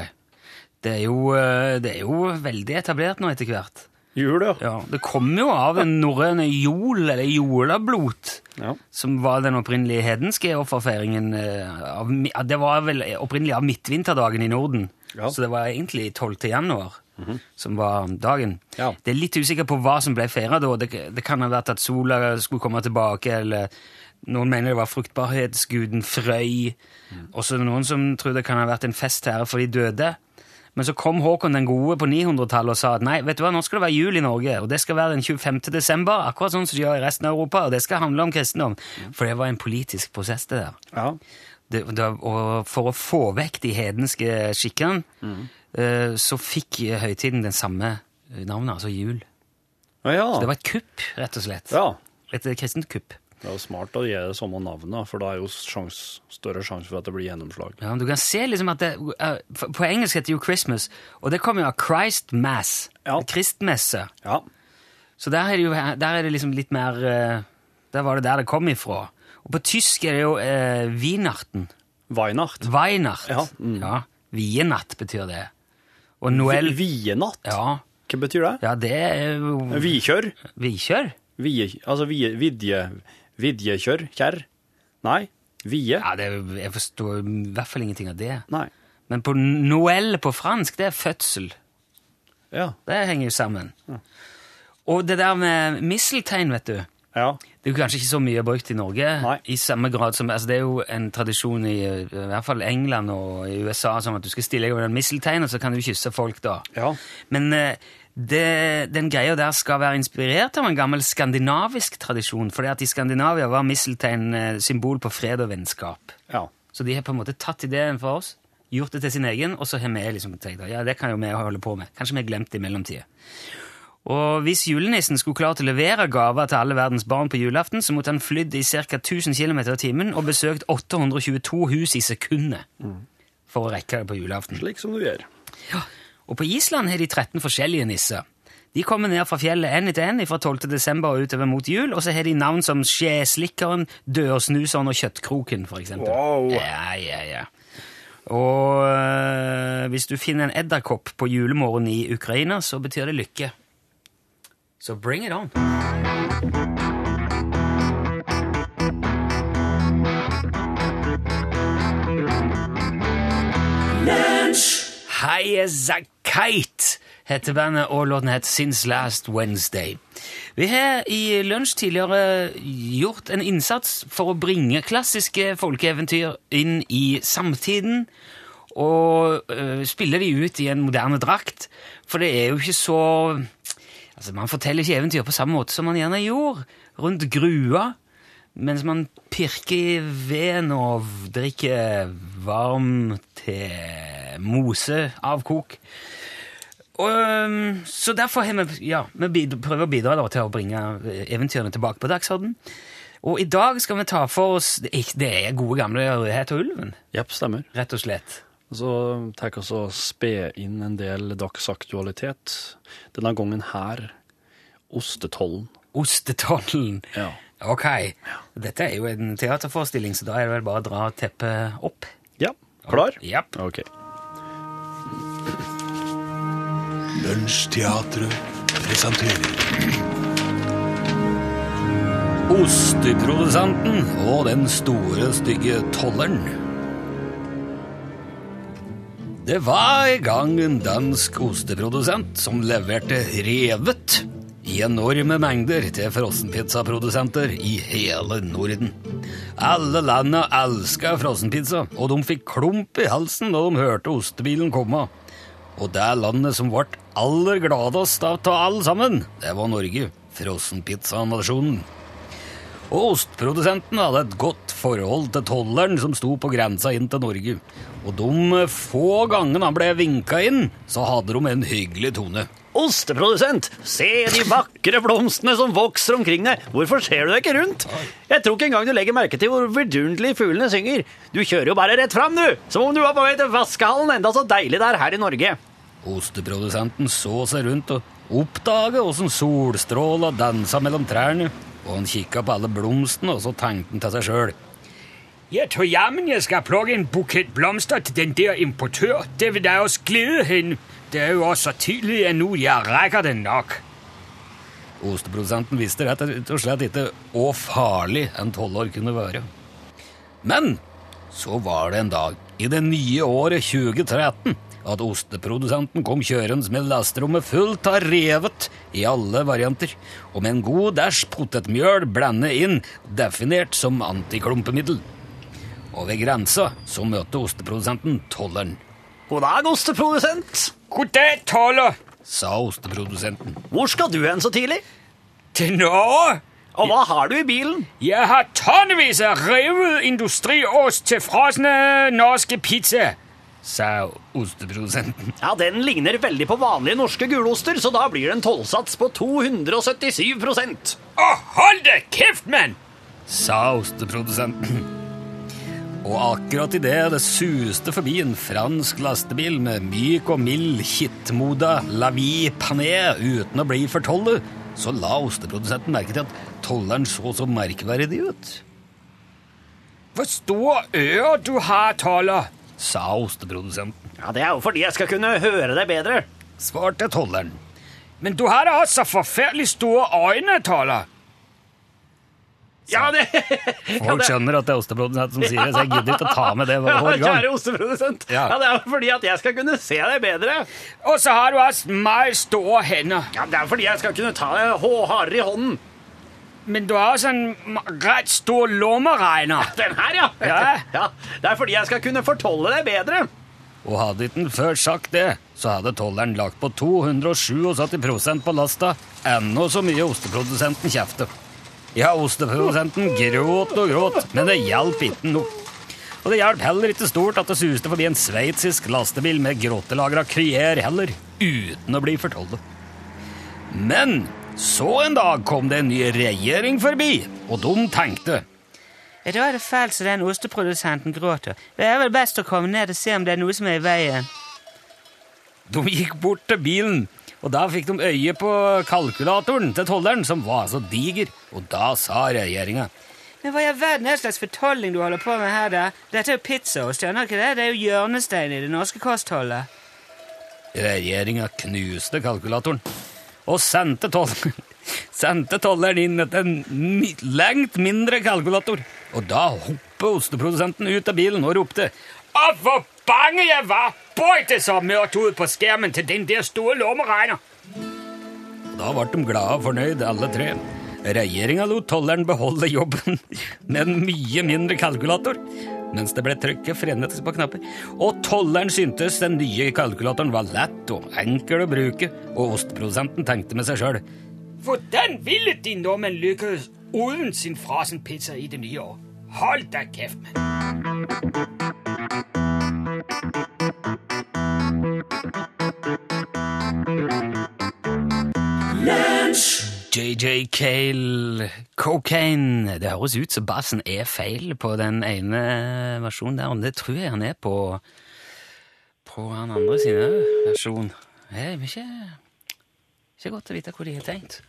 Speaker 3: Det er jo, eh, det er jo veldig etablert nå etter hvert.
Speaker 4: Jul, ja.
Speaker 3: Ja, Det kommer jo av den norrøne jol, eller jolablot,
Speaker 4: Ja.
Speaker 3: som var den opprinnelige hedenske offerfeiringen. eh, Av, mi- ja, det var vel opprinnelig av midtvinterdagen i Norden,
Speaker 4: Ja.
Speaker 3: så det var egentlig 12. januar som var dagen.
Speaker 4: Ja.
Speaker 3: Det er litt usikker på hva som ble feira da. Det, det kan ha vært at sola skulle komme tilbake, eller noen mener det var fruktbarhetsguden Frøy. Også noen som tror det kan ha vært en fest her for de døde. Men så kom Håkon den gode på 900-tallet og sa at nei, vet du hva, nå skal det være jul i Norge, og det skal være den 25. desember, akkurat sånn som de gjør i resten av Europa, og det skal handle om kristendom. For det var en politisk prosess, det der.
Speaker 4: ja.
Speaker 3: det, det, og for å få vekk de hedenske skikkene,
Speaker 4: Mm.
Speaker 3: eh, så fikk høytiden den samme navnet, altså jul.
Speaker 4: Ja, ja.
Speaker 3: Det var et kupp, rett og slett.
Speaker 4: Ah. ja.
Speaker 3: Et eh, kristent kupp.
Speaker 4: Det er jo smart å gi det samme navnet, for da er jo sjans, større sjanse for at det blir gjennomslag.
Speaker 3: Ja, men du kan se liksom at det, eh, for- På engelsk heter det jo Christmas, og det kommer jo av Christ Mass.
Speaker 4: Ja.
Speaker 3: Kristmesse.
Speaker 4: Ja.
Speaker 3: Så der er det, jo, der er det liksom litt mer eh, Der var det der det kom ifra. Og på tysk er det jo eh, Wienerten.
Speaker 4: Weihnacht.
Speaker 3: Weihnacht.
Speaker 4: Ja, mm.
Speaker 3: ja. Wienatt betyr det. Og Noel
Speaker 4: Vienatt.
Speaker 3: Ja,
Speaker 4: Hva betyr det?
Speaker 3: ja det er jo
Speaker 4: Vikjør?
Speaker 3: Vikjør?
Speaker 4: Vie, altså vie, vidje, vidjekjør? Kjær? Nei. Vie?
Speaker 3: Ja, det er, jo- jeg forstår i hvert fall ingenting av det.
Speaker 4: Nei.
Speaker 3: Men på Noel på fransk, det er fødsel.
Speaker 4: Ja.
Speaker 3: Det henger jo sammen. Og det der med misseltein, vet du.
Speaker 4: Ja.
Speaker 3: Det er jo kanskje ikke så mye brukt i Norge.
Speaker 4: Nei.
Speaker 3: I samme grad som, altså Det er jo en tradisjon i, eh, i hvert fall England og i USA som at du skal stille deg over den mistelteinen, og så kan du kysse folk, da.
Speaker 4: Ja.
Speaker 3: Men eh, det, den greia der skal være inspirert av en gammel skandinavisk tradisjon. For i Skandinavia var misteltein eh, symbol på fred og vennskap.
Speaker 4: ja.
Speaker 3: Så de har på en måte tatt ideen fra oss, gjort det til sin egen, og så har vi liksom tenkt ja, det kan jo vi holde på med. Kanskje vi har glemt det i mellomtida. Og hvis julenissen skulle klart å levere gaver til alle verdens barn på julaften, så måtte han flydd i ca. 1000 km i timen og besøkt 822 hus i sekundet for å rekke det på julaften.
Speaker 4: Slik som du gjør.
Speaker 3: Ja. Og på Island har de 13 forskjellige nisser. De kommer ned fra fjellet en etter en fra 12. desember og utover mot jul, og så har de navn som Skjeslikkeren, Dørsnuseren og Kjøttkroken, for eksempel.
Speaker 4: Wow.
Speaker 3: Ja, ja, ja. Og øh, hvis du finner en edderkopp på julemorgen i Ukraina, så betyr det lykke. Så bring it on. Highasakite heter bandet, og låten het Since Last Wednesday. Vi har i lunsj tidligere gjort en innsats for å bringe klassiske folkeeventyr inn i samtiden, og øh, spille de ut i en moderne drakt, for det er jo ikke så... Altså, man forteller ikke eventyr på samme måte som man gjerne gjorde, rundt grua, mens man pirker i veden og v- drikker varm te, mose, avkok. Og, øhm, så derfor har vi, ja, vi bid- prøver å bidra da, til å bringe eventyrene tilbake på dagsorden. Og i dag skal vi ta for oss Det er- det er gode gamle Rødhet og ulven,
Speaker 4: Jepp, stemmer.
Speaker 3: rett og slett.
Speaker 4: Så tar vi også spe inn en del dagsaktualitet. Denne gangen her ostetollen.
Speaker 3: Ostetollen.
Speaker 4: Ja.
Speaker 3: Ok. Dette er jo en teaterforestilling, så da er det vel bare å dra teppet opp.
Speaker 4: Ja, klar?
Speaker 3: Japp.
Speaker 4: Ok.
Speaker 2: Lunsjteatret presenterer
Speaker 3: Osteprodusanten og den store, stygge tolleren. Det var en gang en dansk osteprodusent som leverte revet i enorme mengder til frossenpizzaprodusenter i hele Norden. Alle landa elska frossenpizza, og de fikk klump i halsen da de hørte ostebilen komme. Og det landet som ble aller gladest av av alle sammen, det var Norge. Frossenpizzanasjonen. Og ostprodusenten hadde et godt forhold til tolleren som sto på grensa inn til Norge. Og de få gangene han ble vinka inn, så hadde de en hyggelig tone.
Speaker 4: Osteprodusent, se de vakre blomstene som vokser omkring deg. Hvorfor ser du deg ikke rundt? Jeg tror ikke engang du legger merke til hvor vidunderlig fuglene synger. Du kjører jo bare rett fram, du! Som om du var på vei til vaskehallen. Enda så deilig det er her i Norge.
Speaker 3: Osteprodusenten så seg rundt og oppdaga åssen solstråla dansa mellom trærne. Og han kikka på alle blomstene, og så tenkte han til seg sjøl. Jeg tror jammen jeg skal plukke en bukett blomster til den der importør. Det vil da jo sklide hen. Det er jo også så tidlig ennå. Jeg rekker den nok. Osteprodusenten visste rett og slett ikke hvor farlig en tolvår kunne være. Men så var det en dag i det nye året 2013 at osteprodusenten kom kjørende med lasterommet fullt av revet i alle varianter, og med en god dæsj potetmjøl blandet inn, definert som antiklumpemiddel. Og ved grensa så møtte osteprodusenten tolleren.
Speaker 4: God dag, osteprodusent.
Speaker 3: God dag, toller! sa osteprodusenten.
Speaker 4: Hvor skal du hen så tidlig?
Speaker 3: Til Norge!
Speaker 4: Og hva har du i bilen?
Speaker 3: Jeg har tonnevis av revet industriost til frosne norske pizza, sa osteprodusenten.
Speaker 4: Ja, Den ligner veldig på vanlige norske guloster, så da blir det en tollsats på 277
Speaker 3: Å, hold deg kjeft, mann! sa osteprodusenten. Og akkurat idet det suste forbi en fransk lastebil med myk og mild kittmoda lavi-pané uten å bli for tollet, så la osteprodusenten merke til at tolleren så så merkverdig ut. Hvor store ører du har, Toller, sa osteprodusenten,
Speaker 4: Ja, Det er jo fordi jeg skal kunne høre deg bedre.
Speaker 3: svarte tolleren. Men du har da også forferdelig store øyne, Toller.
Speaker 4: Ja, det...
Speaker 3: Folk skjønner at det er osteprodusent som sier det, så jeg gidder ikke å ta med det
Speaker 4: Ja,
Speaker 3: hver gang.
Speaker 4: kjære osteprodusent. Ja.
Speaker 3: Ja.
Speaker 4: Det er jo fordi at jeg skal kunne se deg bedre.
Speaker 3: Og så har du altså meget store hender,
Speaker 4: Ja, Det er fordi jeg skal kunne ta deg hå- hardere i hånden.
Speaker 3: men du har også en m- rett stor lommeregner.
Speaker 4: Den her, ja.
Speaker 3: Ja.
Speaker 4: Det er fordi jeg skal kunne fortolle deg bedre.
Speaker 3: Og hadde ikke den før sagt det, så hadde tolleren lagt på 277 på lasta, ennå så mye osteprodusenten kjefter. Ja, osteprodusenten gråt og gråt, men det hjalp ikke noe. Og det hjalp heller ikke stort at det suste forbi en sveitsisk lastebil med gråtelagra kryer heller, uten å bli fortollet. Men så en dag kom det en ny regjering forbi, og de tenkte
Speaker 9: Da er det fælt så den osteprodusenten gråter. Det er vel best å komme ned og se om det er noe som er i veien.
Speaker 3: De gikk bort til bilen, og da fikk de øye på kalkulatoren til tolleren, som var så diger. Og da sa regjeringa
Speaker 9: Men hva i all verden er det slags fortolling du holder på med her, da? Dette er jo pizzaost, skjønner ikke det? Det er jo hjørnestein i det norske kostholdet.
Speaker 3: Regjeringa knuste kalkulatoren og sendte, toll, sendte tolleren inn etter en mi- langt mindre kalkulator. Og da hoppet osteprodusenten ut av bilen og ropte Å, hvor bange jeg var! Bøyte så mørkt ut på skjermen til din der store lommeregner! Da ble de glade og fornøyd, alle tre. Regjeringa lot tolleren beholde jobben med en mye mindre kalkulator, mens det ble trykket frenetisk på knapper. Og tolleren syntes den nye kalkulatoren var lett og enkel å bruke, og osteprodusenten tenkte med seg sjøl. Hvordan ville de nordmenn lykkes uten sin frasenpizza i det nye år? Hold deg kjeft, mann! JJ Cale, Cocaine. Det høres ut som bassen er feil på den ene versjonen der, men det tror jeg han er på på den andre sin versjon. Det er ikke, ikke godt å vite hvor de har tenkt.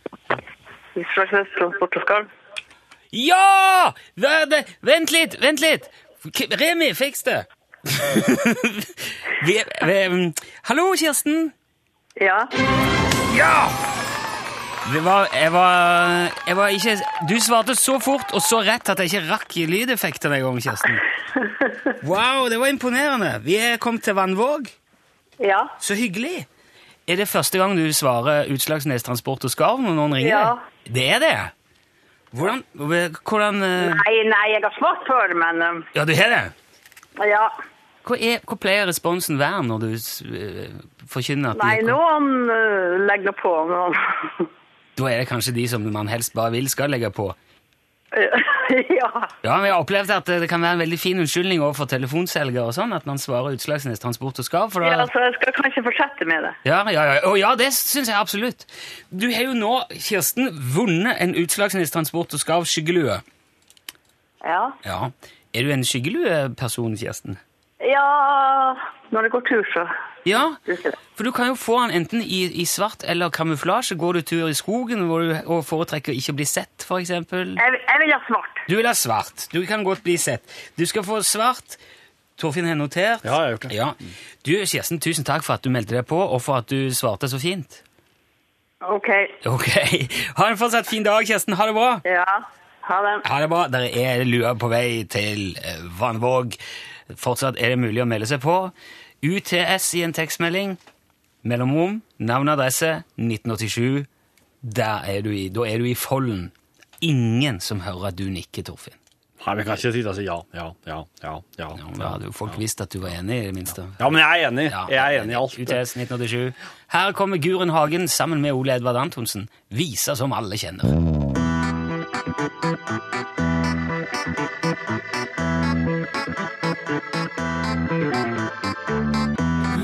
Speaker 10: Utslagsnes transportoppgave.
Speaker 3: Ja! Det, det, vent litt, vent litt! K- Remi, fiks det! vi, vi, um, hallo, Kirsten.
Speaker 10: Ja.
Speaker 3: Det var, jeg, var, jeg var ikke Du svarte så fort og så rett at jeg ikke rakk lydeffektene engang, Kirsten. Wow, det var imponerende. Vi er kommet til Vannvåg.
Speaker 10: Ja.
Speaker 3: Så hyggelig. Er det første gang du svarer Utslagsnes Transport og Skarv når noen ringer?
Speaker 10: Ja.
Speaker 3: deg? Det er det? Hvordan, hvordan eh,
Speaker 10: Nei, nei, jeg har svart før, men um,
Speaker 3: Ja, du har det?
Speaker 10: ja.
Speaker 3: Hva, er, hva pleier responsen være når du s- eh, forkynner at
Speaker 10: Nei,
Speaker 3: du-
Speaker 10: noen uh, legger nå på. Noen.
Speaker 3: Da er det kanskje de som man helst bare vil skal legge på?
Speaker 10: ja.
Speaker 3: Ja, men jeg har opplevd at det kan være en veldig fin unnskyldning overfor telefonselger og sånn, at man svarer Utslagsnes Transport og Skarv. For
Speaker 10: ja,
Speaker 3: da,
Speaker 10: så jeg skal kanskje fortsette med det.
Speaker 3: ja, ja, ja, Å, ja, det syns jeg absolutt. Du har jo nå, Kirsten, vunnet en Utslagsnes Transport og Skarv skyggelue.
Speaker 10: Ja.
Speaker 3: Ja. Er du en skyggelueperson, Kirsten?
Speaker 10: ja. Når det går tur, så
Speaker 3: Ja,
Speaker 10: bruker jeg det.
Speaker 3: for du kan jo få den enten i, i svart eller kamuflasje. Går du tur i skogen hvor du, og foretrekker ikke å bli sett, for eksempel?
Speaker 10: Jeg, jeg vil ha svart.
Speaker 3: Du vil ha svart. Du kan godt bli sett. Du skal få svart. Torfinn har notert.
Speaker 4: Ja, jeg har gjort det.
Speaker 3: Ja. Du, Kirsten, tusen takk for at du meldte deg på, og for at du svarte så fint.
Speaker 10: OK.
Speaker 3: Ok. Ha en fortsatt fin dag, Kirsten. Ha det bra.
Speaker 10: Ja. Ha det.
Speaker 3: Ha det bra. Dere er lua på vei til eh, Vannvåg. Fortsatt er det mulig å melde seg på. UTS i en tekstmelding. Mellomrom, navn og adresse, 1987. Der er du i. Da er du i folden. Ingen som hører at du nikker, Torfinn.
Speaker 4: Nei, vi kan ikke sitte og si altså ja, ja, ja, ja. ja.
Speaker 3: Ja, men Da hadde jo folk visst at du var enig, i det minste.
Speaker 4: Ja, men jeg er enig. Jeg er enig i alt.
Speaker 3: UTS 1987. Her kommer Guren Hagen sammen med Ole Edvard Antonsen. Visa som alle kjenner.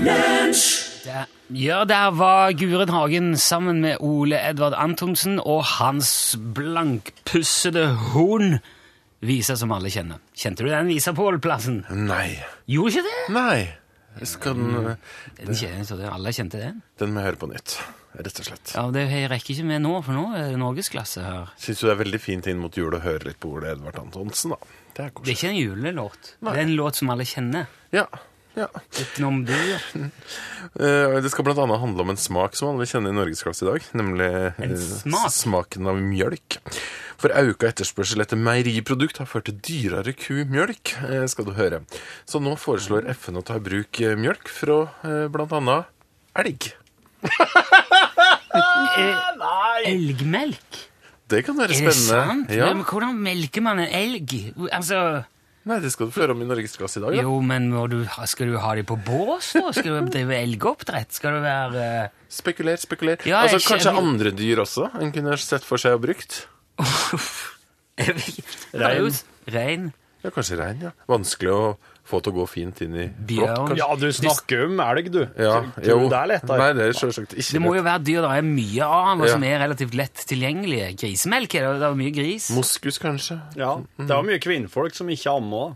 Speaker 3: Det- Ja, der var Guren Hagen sammen med Ole Edvard Antonsen og hans blankpussede hund. Visa som alle kjenner. Kjente du den visa på Ålplassen?
Speaker 2: Nei.
Speaker 3: Gjorde ikke det?
Speaker 2: Nei. Jeg skal
Speaker 5: Mm.
Speaker 2: den,
Speaker 3: Den kjen- så det- alle kjente den.
Speaker 2: den må jeg høre på nytt, rett og slett.
Speaker 3: Ja, Det rekker ikke med nå, for nå er det norgesklasse her.
Speaker 2: Syns du det er veldig fint inn mot jul å høre litt på Ole Edvard Antonsen, da? Det er
Speaker 3: Det er
Speaker 2: koselig.
Speaker 3: ikke en julelåt.
Speaker 2: Nei.
Speaker 3: Det er en låt som alle kjenner.
Speaker 2: Ja. ja.
Speaker 3: Utenom du.
Speaker 2: Eh, Det skal blant annet handle om en smak som alle kjenner i norgesklasse i dag, nemlig eh,
Speaker 3: smak?
Speaker 2: smaken av mjølk. For auka etterspørsel etter meieriprodukt har ført til dyrere kumjølk, eh, skal du høre. Så nå foreslår FN å ta i bruk eh, mjølk fra eh, blant annet elg.
Speaker 3: Elgmelk?
Speaker 2: Det kan være
Speaker 3: Er det sant?
Speaker 2: spennende. Ja.
Speaker 3: Men hvordan melker man en elg? Altså...
Speaker 2: Nei, det skal du få høre om i norgesklasse i dag, da.
Speaker 3: Jo, men må du, ha- skal du ha dem på bås, da? Skal du drive elgoppdrett? Skal du være eh,
Speaker 2: Spekuler, spekuler.
Speaker 3: Ja, jeg
Speaker 2: altså,
Speaker 3: skjønner.
Speaker 2: kanskje andre dyr også en kunne sett for seg og brukt.
Speaker 3: jeg vet ikke. Det er jo s- Rein?
Speaker 2: Ja, kanskje rein, ja. Vanskelig å få til å gå fint inn i
Speaker 3: Bjørn.
Speaker 2: kanskje.
Speaker 4: Ja, du snakker om elg, du.
Speaker 2: Ja,
Speaker 4: Tror du det er lettere?
Speaker 2: Nei, det er selvsagt ikke
Speaker 3: Det må jo være dyr det er mye av, og
Speaker 2: Ja.
Speaker 3: som er relativt lett tilgjengelige. Grisemelk er det, det er mye gris.
Speaker 2: Moskus, kanskje.
Speaker 4: Ja, det er jo mye kvinnfolk som ikke ammer.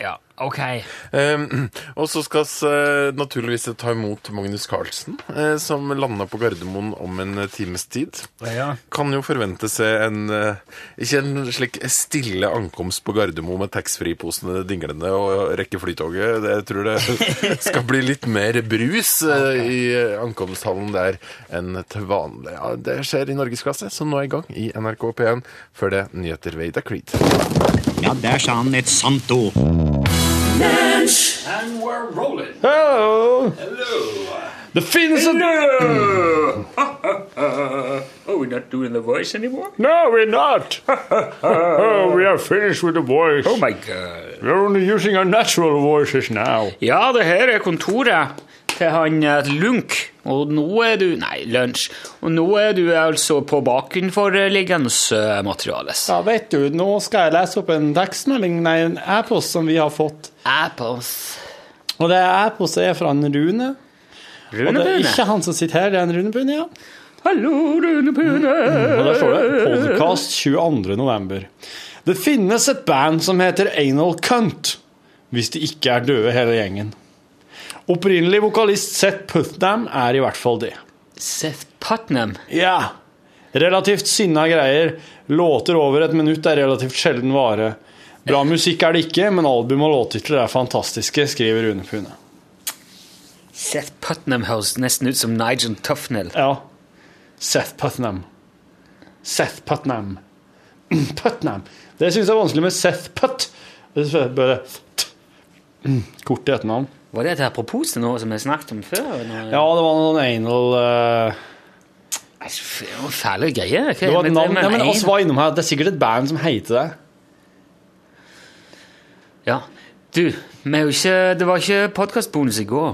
Speaker 3: Ja, ok.
Speaker 2: Ehm, og så skal vi eh, naturligvis ta imot Magnus Carlsen, eh, som landa på Gardermoen om en eh, times tid.
Speaker 3: Ja.
Speaker 2: Kan jo forvente seg en eh, ikke en slik stille ankomst på Gardermoen med taxfree-posene dinglende og rekke flytoget. Det- Jeg tror det skal bli litt mer brus eh, i eh, ankomsthallen der enn til vanlig. Ja, det skjer i norgesklasse, så nå er jeg i gang i NRK P1 før det er nyheter ved Ida Creed.
Speaker 1: Ja, der sa han et sant ord.
Speaker 4: Det finnes en
Speaker 3: Oh, we're not doing the voice anymore?
Speaker 4: No, we're not! oh, we are finished with the voice.
Speaker 3: Oh my god.
Speaker 4: We're only using our natural voices now.
Speaker 3: Ja, det her er kontoret til han eh, Lunk, og nå er du Nei, lunsj. Og nå er du altså på bakenforliggende eh, materiale.
Speaker 6: Ja, vet du, nå skal jeg lese opp en tekstmelding, nei, en e-post som vi har fått.
Speaker 3: Apples.
Speaker 6: Og det er e-postet er fra en Rune. Og det er
Speaker 3: Runebune.
Speaker 6: ikke han som sitter her, det er en Rune Bune, ja. Mm,
Speaker 3: Hallo, Runebune.
Speaker 6: Og der står det podcast 22. november. Det finnes et band som heter Anal Cunt, hvis de ikke er døde hele gjengen. Opprinnelig vokalist Seth Putnam er i hvert fall det.
Speaker 3: Seth Putnam.
Speaker 6: Ja. Relativt sinna greier. Låter over et minutt er relativt sjelden vare. Bra musikk er det ikke, men album og låttitler er fantastiske, skriver Rune Pune.
Speaker 3: Seth Putnam høres nesten ut som Nigel Tufnell.
Speaker 6: Ja. Seth Putnam. Seth Putnam. Putnam. Det syns jeg er vanskelig med Seth Putt. Det er Bare t. Kort i etternavn.
Speaker 3: Var det et apropos til noe som vi snakket om før? Noe-
Speaker 6: Ja, det var noen anal eh,
Speaker 3: Nei, f- det var Fæle greier. Hva-
Speaker 6: Det var et
Speaker 3: men-
Speaker 6: navn
Speaker 3: men-
Speaker 6: Nei, men altså,
Speaker 3: en-
Speaker 6: oss var innom her. Det er sikkert et band som heter det.
Speaker 3: Ja. Du, vi er jo ikke, det var ikke podkastbonus i går.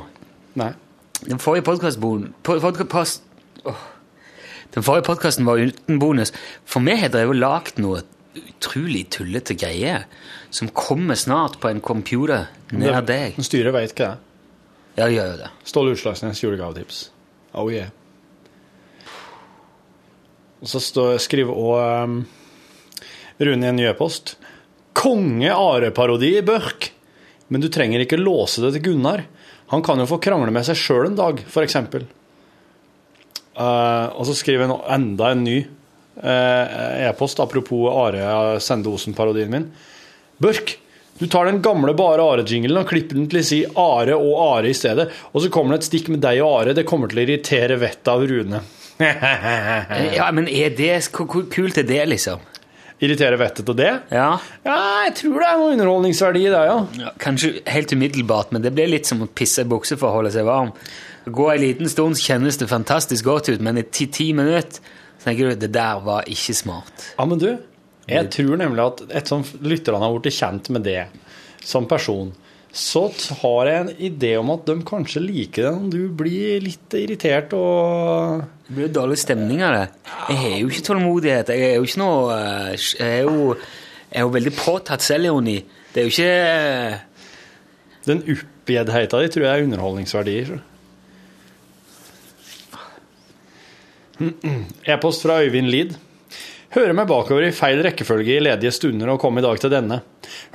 Speaker 6: Nei.
Speaker 3: Den forrige podkastbonusen Den forrige podkasten var uten bonus. For vi har drevet og lagd noe utrolig tullete greier som kommer snart på en computer nær deg.
Speaker 6: Styret vet hva det er.
Speaker 3: Ja, gjør jo det.
Speaker 6: Ståle Utslagsnes julegavetips. Oh yeah. Og så står, skriver også um, Rune i en ny e-post. Konge-Are-parodi i Børk. Men du trenger ikke låse det til Gunnar. Han kan jo få krangle med seg sjøl en dag, f.eks. Uh, og så skriver han enda en ny eh, e-post, apropos Are Sende Osen-parodien min. Børk, du tar den gamle bare Are-jinglen og klipper den til å si Are og Are i stedet, og så kommer det et stikk med deg og Are. Det kommer til å irritere vettet av Rune.
Speaker 3: Ja, men er det, hvor, hvor kult er det, liksom?
Speaker 6: Irritere vettet til det?
Speaker 3: Ja.
Speaker 6: Ja, jeg tror det er noe underholdningsverdi i det, ja.
Speaker 3: Ja, Kanskje helt umiddelbart, men det blir litt som å pisse i bukse for å holde seg varm. Gå en liten stund, så kjennes det fantastisk godt ut, men i ti-ti minutter så tenker du det der var ikke smart.
Speaker 6: Ja, men du, Mm. jeg tror nemlig at et sånt lytterne har blitt kjent med det som person. så t- har jeg en idé om at de kanskje liker den. Du blir litt irritert og
Speaker 3: Det blir jo dårlig stemning av det. Jeg har jo ikke tålmodighet. Jeg er jo ikke noe eh, Jeg er jo, jeg er jo veldig påtatt selvironi. Det er jo ikke eh,
Speaker 6: Den oppgjeddheta di tror jeg er underholdningsverdier. så. E-post fra Øyvind Lid. Hører meg bakover i feil rekkefølge i ledige stunder og kom i dag til denne.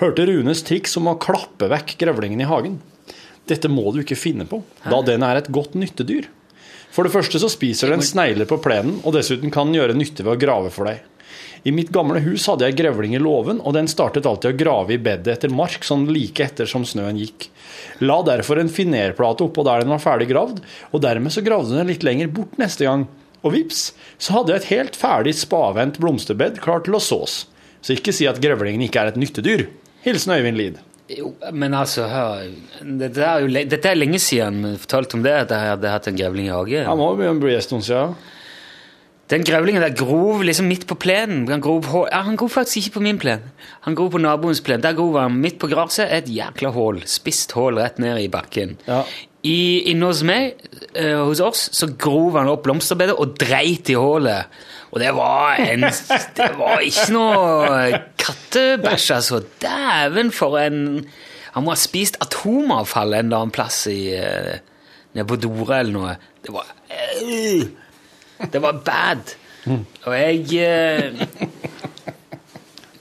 Speaker 6: Hørte Runes triks om å klappe vekk grevlingen i hagen. Dette må du ikke finne på, da den er et godt nyttedyr. For det første så spiser den snegler på plenen, og dessuten kan den gjøre nytte ved å grave for deg. I mitt gamle hus hadde jeg grevling i låven, og den startet alltid å grave i bedet etter mark, sånn like etter som snøen gikk. La derfor en finerplate oppå der den var ferdig gravd, og dermed så gravde den litt lenger bort neste gang. Og vips, så hadde jeg et helt ferdig spavendt blomsterbed klart til å sås. Så ikke si at grevlingen ikke er et nyttedyr. Hilsen Øyvind Lid.
Speaker 3: Jo, men altså, hør Dette er jo le- dette er lenge siden vi fortalte om det, at jeg hadde hatt en grevling i
Speaker 6: Han
Speaker 3: hagen.
Speaker 6: må jo bli en stund siden.
Speaker 3: Den grevlingen der grov liksom midt på plenen. Han grov, hå- ja, han grov faktisk ikke på min plen. Han grov på naboens plen. Der grov han midt på gresset. Et jækla hull. Spisst hull rett ned i bakken. I, inne hos meg, eh, hos oss, så grov han opp blomsterbedet og dreit i hullet. Og det var en Det var ikke noe kattebæsj, altså. Dæven, for en Han må ha spist atomavfall en eller annen plass i eh, Nede på Dora eller noe. Det var øh, Det var bad. Og jeg eh,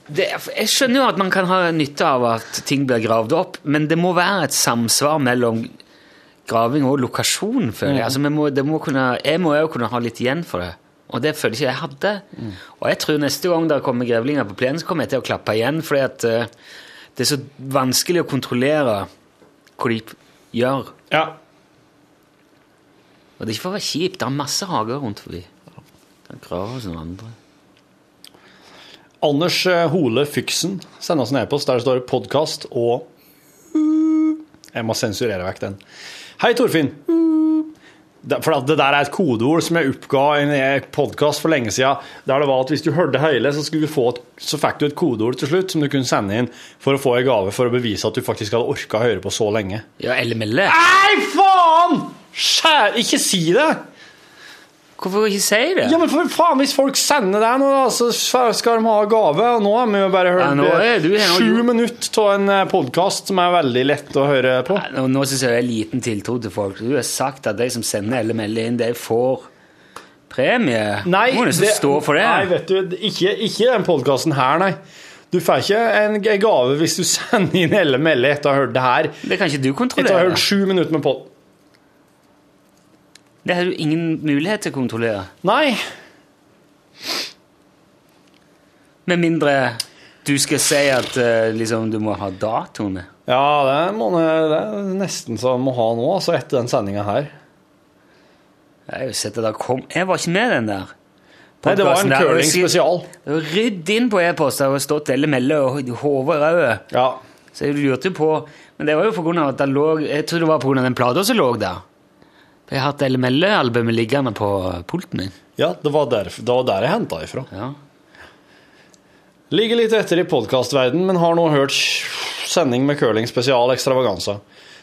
Speaker 3: det, jeg skjønner jo at man kan ha nytte av at ting blir gravd opp, men det må være et samsvar mellom graving og lokasjon, føler jeg.
Speaker 11: Mm.
Speaker 3: Altså, vi må, det må kunne, jeg må jo kunne ha litt igjen for det. Og det føler ikke jeg hadde. Og jeg tror neste gang det kommer grevlinger på plenen, så kommer jeg til å klappe igjen, fordi at eh, det er så vanskelig å kontrollere hva de gjør.
Speaker 6: Ja.
Speaker 3: Og det er ikke for å være kjip, det er masse hager rundt forbi. Det er graver som andre.
Speaker 6: Anders eh, Hole Fyksen sender oss en e-post der det står 'podkast' og Hmm. Jeg må sensurere vekk den. Hei, Torfinn. Hmm. Det- For at det der er et kodeord som jeg oppga i en podkast for lenge siden. Der det var at hvis du hørte hele, så, skulle du få et, så fikk du et kodeord til slutt som du kunne sende inn for å få en gave for å bevise at du faktisk hadde orka å høre på så lenge.
Speaker 3: Ja, eller melde.
Speaker 6: Nei, faen! Skjær, ikke si det!
Speaker 3: Hvorfor ikke si det?
Speaker 6: Ja, men for faen, Hvis folk sender deg noe, da, så skal de ha gave. Og nå har vi jo bare
Speaker 3: Ja,
Speaker 6: hørt eh,
Speaker 3: nå er du her og
Speaker 6: sju minutter av en podkast som er veldig lett å høre på.
Speaker 3: Nå, nå synes jeg det er liten tiltro til folk. Du har sagt at de som sender eller melder inn, de får premie.
Speaker 6: Nei,
Speaker 3: Du må nesten
Speaker 6: det-
Speaker 3: stå for det.
Speaker 6: Nei, vet du, ikke, ikke den podkasten her, nei. Du får ikke en g- gave hvis du sender inn hele meldingen etter å ha hørt det her.
Speaker 3: Det kan ikke du kontrollere.
Speaker 6: Etter å ha hørt sju minutter med pod...
Speaker 3: Det har du ingen mulighet til å kontrollere.
Speaker 6: Nei.
Speaker 3: Med mindre du skal si at eh, liksom, du må ha datoen med.
Speaker 6: Ja, det, må, det er nesten så jeg må ha nå, altså, etter den sendinga her.
Speaker 3: Jeg har jo sett at det kom Jeg var ikke med den der.
Speaker 6: Nei, det var en
Speaker 3: podcasten der.
Speaker 6: curling spesial.
Speaker 3: Rydd inn på e-post. Det har stått Elle Melle og Hove Røde.
Speaker 6: Ja.
Speaker 3: Så jeg lurte jo på Men det var jo på grunn av at det lå Jeg tror det var på grunn av den plata som lå der. For jeg har hatt Elle Melle-albumet liggende på pulten min.
Speaker 6: Ja, det var der, det var der jeg henta ifra. Ligger litt etter i podkastverden, men har nå hørt sending med curling spesial ekstravaganza.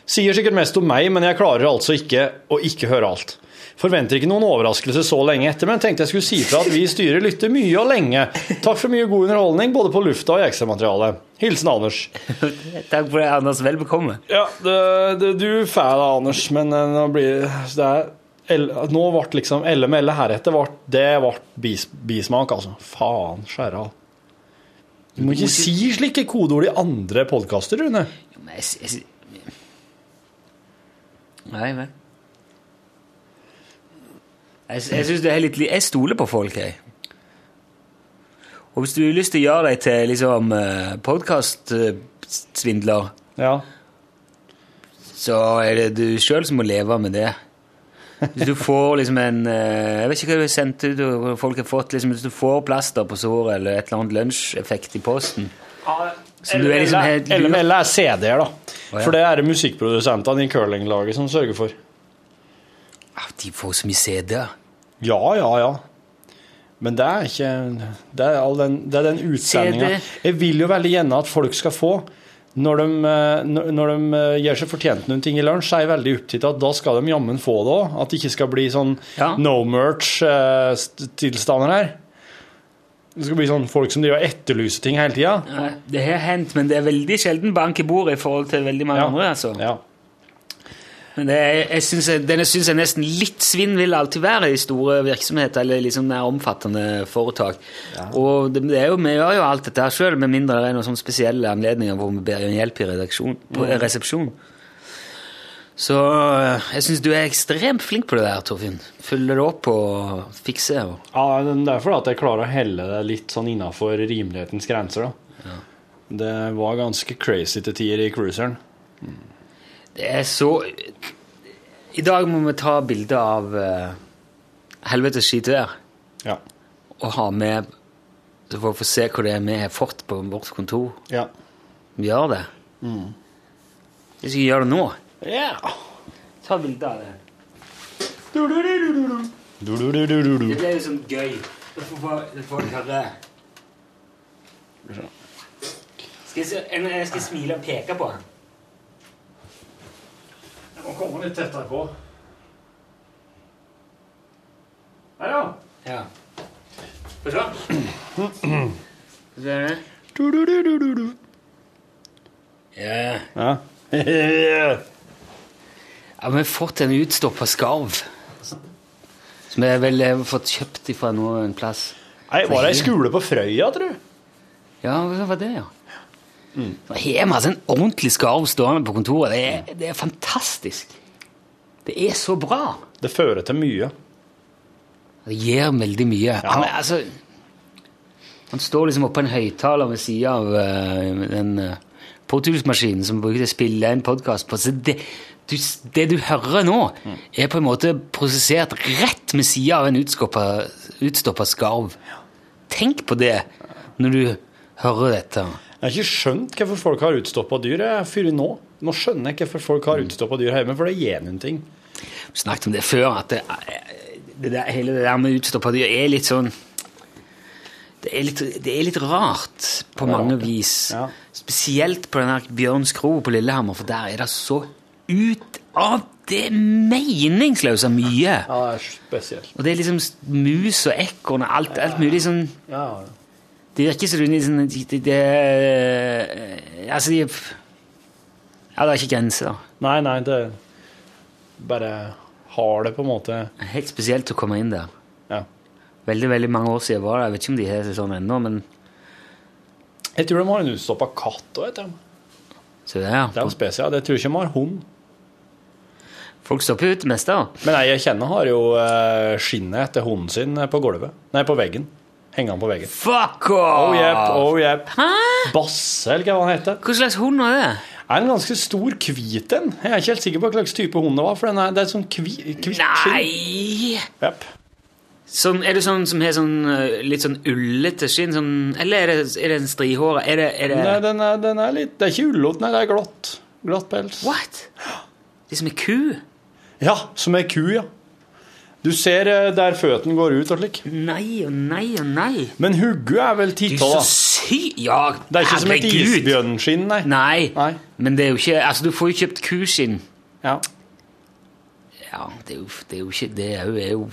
Speaker 6: Sier sikkert mest om meg, men jeg klarer altså ikke å ikke høre alt. Forventer ikke noen overraskelse så lenge etter, men tenkte jeg skulle si fra at vi i styret lytter mye og lenge. Takk for mye god underholdning, både på lufta og i ekstramaterialet. Hilsen Anders.
Speaker 3: Takk for det, Anders. Vel bekomme.
Speaker 6: Ja, det, det, du får det, Anders, men eh, nå blir det er, el- Nå ble liksom LML heretter vart, Det ble bis, bismak, altså. Faen, skjæra. Du må ikke si slike kodeord i andre podkaster, Rune.
Speaker 3: Men jeg, s- jeg, s- Nei, vel. Jeg, s- jeg synes det er litt li- Jeg stoler på folk, jeg. Og hvis du har lyst til å gjøre deg til liksom eh, podkastsvindler,
Speaker 6: ja.
Speaker 3: så er det du sjøl som må leve med det. Hvis du får liksom en eh, Jeg vet ikke hva du har sendt ut, og folk har fått liksom, Hvis du får plaster på såret eller et eller annet lunsjeffekt i posten Så du er liksom helt lurt.
Speaker 6: LML er CD-er, da.
Speaker 3: Å, ja.
Speaker 6: For det er det musikkprodusentene i curlinglaget som sørger for.
Speaker 3: Ah, De får så mye CD-er.
Speaker 6: Ja, ja, ja. Men det er ikke Det er, all den, det er den utsendinga.
Speaker 3: CD.
Speaker 6: Jeg vil jo veldig gjerne at folk skal få når de, eh, når- når de eh, gjør seg fortjent til noen ting i lunsj, så er jeg veldig opptatt av at da skal de jammen få det òg. At det ikke skal bli sånn no merch-tilstander her. Det skal bli sånn folk som driver og etterlyser ting hele tida.
Speaker 3: Nei, Det har hendt, men det er veldig sjelden bank i bordet i forhold til veldig mange andre. altså. Men det er, jeg synes, jeg- den syns jeg nesten litt svinn vil alltid være i store virksomheter eller liksom mer omfattende foretak. Og det, det er jo, vi gjør jo alt dette her sjøl, med mindre det er noen sånne spesielle anledninger hvor vi ber om hjelp i redaksjon, på,
Speaker 9: Mm.
Speaker 3: resepsjon. Så eh, jeg syns du er ekstremt flink på det der, Torfinn. Følger det opp og fikser. Og.
Speaker 6: Ja, men det er fordi at jeg klarer å helle det litt sånn innafor rimelighetens grenser, da. Det var ganske crazy til tider i cruiseren.
Speaker 3: Det er så I dag må vi ta bilde av uh, helvetes skitvær.
Speaker 6: Ja.
Speaker 3: Og ha med Så får vi få se hva det er vi har fått på vårt kontor.
Speaker 6: Ja.
Speaker 3: Vi gjør det. Mm. Hvis vi gjør det nå
Speaker 6: Ja.
Speaker 3: Ta bilde av det.
Speaker 6: Du-du-du-du-du-du.
Speaker 3: Det ble liksom gøy. Da får folk- da får folk høre. Skal jeg, se- jeg skal smile og peke på den.
Speaker 6: Jeg må komme litt tettere på. Der, ja.
Speaker 3: Ja. Få se. Skal vi se.
Speaker 6: Du-du-du-du-du-du.
Speaker 3: Ja.
Speaker 6: Ja.
Speaker 3: Ja, vi har fått en utstoppa skarv. Som jeg vel har fått kjøpt ifra noe en plass.
Speaker 6: Nei, var det ei skole på Frøya, tror du?
Speaker 3: Ja, det var det, ja. Så Her har vi altså en ordentlig skarv stående på kontoret. Det er, det er fantastisk. Det er så bra.
Speaker 6: Det fører til mye.
Speaker 3: Det gir veldig mye. Han, er, altså, han står liksom oppå en høyttaler ved sida av eh, den uh, portulsmaskinen som bruker til å spille en podkast på. Så det du, s- det du hører nå, er på en måte prosessert rett ved sida av en utstoppa skarv. Tenk på det når du hører dette.
Speaker 6: Jeg har ikke skjønt hvorfor folk har utstoppa dyr jeg, før nå. Nå skjønner jeg hvorfor folk har utstoppa dyr hjemme, for det gjør noen ting.
Speaker 3: Vi snakket om det før, at det, det der, hele det der med utstoppa dyr er litt sånn det er, litt, det er litt rart på mange vis. Spesielt på den her Bjørns Kro på Lillehammer, for der er det så ut av det meningsløse mye.
Speaker 6: Ja, det er spesielt.
Speaker 3: Og det er liksom s- mus og ekorn og alt, alt mulig sånn
Speaker 6: Ja,
Speaker 3: Det virker som du liksom det, det, det, Altså, de Ja, det er ikke grenser, da.
Speaker 6: Nei, nei, det bare har det på en måte
Speaker 3: Helt spesielt å komme inn der.
Speaker 6: Ja.
Speaker 3: Veldig veldig mange år siden jeg var der. Jeg vet ikke om de har det sånn ennå, men
Speaker 6: Jeg tror de har en utstoppa katt òg, vet du.
Speaker 3: se der.
Speaker 6: Det er jo spesielt. Jeg tror ikke de har hund.
Speaker 3: Folk stopper jo ut det meste, da.
Speaker 6: Men ei jeg kjenner, har jo eh, skinnet etter hunden sin på gulvet. Nei, på veggen. Henger han på veggen.
Speaker 3: Fuck off!
Speaker 6: Oh yep, oh yep. Basse, eller hva han heter.
Speaker 3: Hva slags hund var det?
Speaker 6: Er en ganske stor hvit en. Jeg er ikke helt sikker på hva slags type hund det var, for den er, det er sånn hvitt skinn.
Speaker 3: Nei!
Speaker 6: Yep.
Speaker 3: Sånn, er det sånn som har sånn eh, litt sånn ullete skinn? Sånn, eller er det, er det en strihåra? Er det, er det
Speaker 6: Nei, den er, den er litt Det er ikke ullot, nei, det er glatt. Glatt pels.
Speaker 3: What? Det er som en ku?
Speaker 6: Ja, som ei ku, ja. Du ser eh, der føttene går ut og slik.
Speaker 3: Nei og nei og nei.
Speaker 6: Men hugget er vel
Speaker 3: Du er
Speaker 6: titta,
Speaker 3: så
Speaker 6: da.
Speaker 3: sy... Ja,
Speaker 6: Det er ikke som et
Speaker 3: herregud.
Speaker 6: isbjørnskinn, nei.
Speaker 3: Nei. Men det er jo ikke Altså, du får jo kjøpt kuskinn.
Speaker 6: Ja.
Speaker 3: Ja, det er jo, det er jo ikke Det er jo, er jo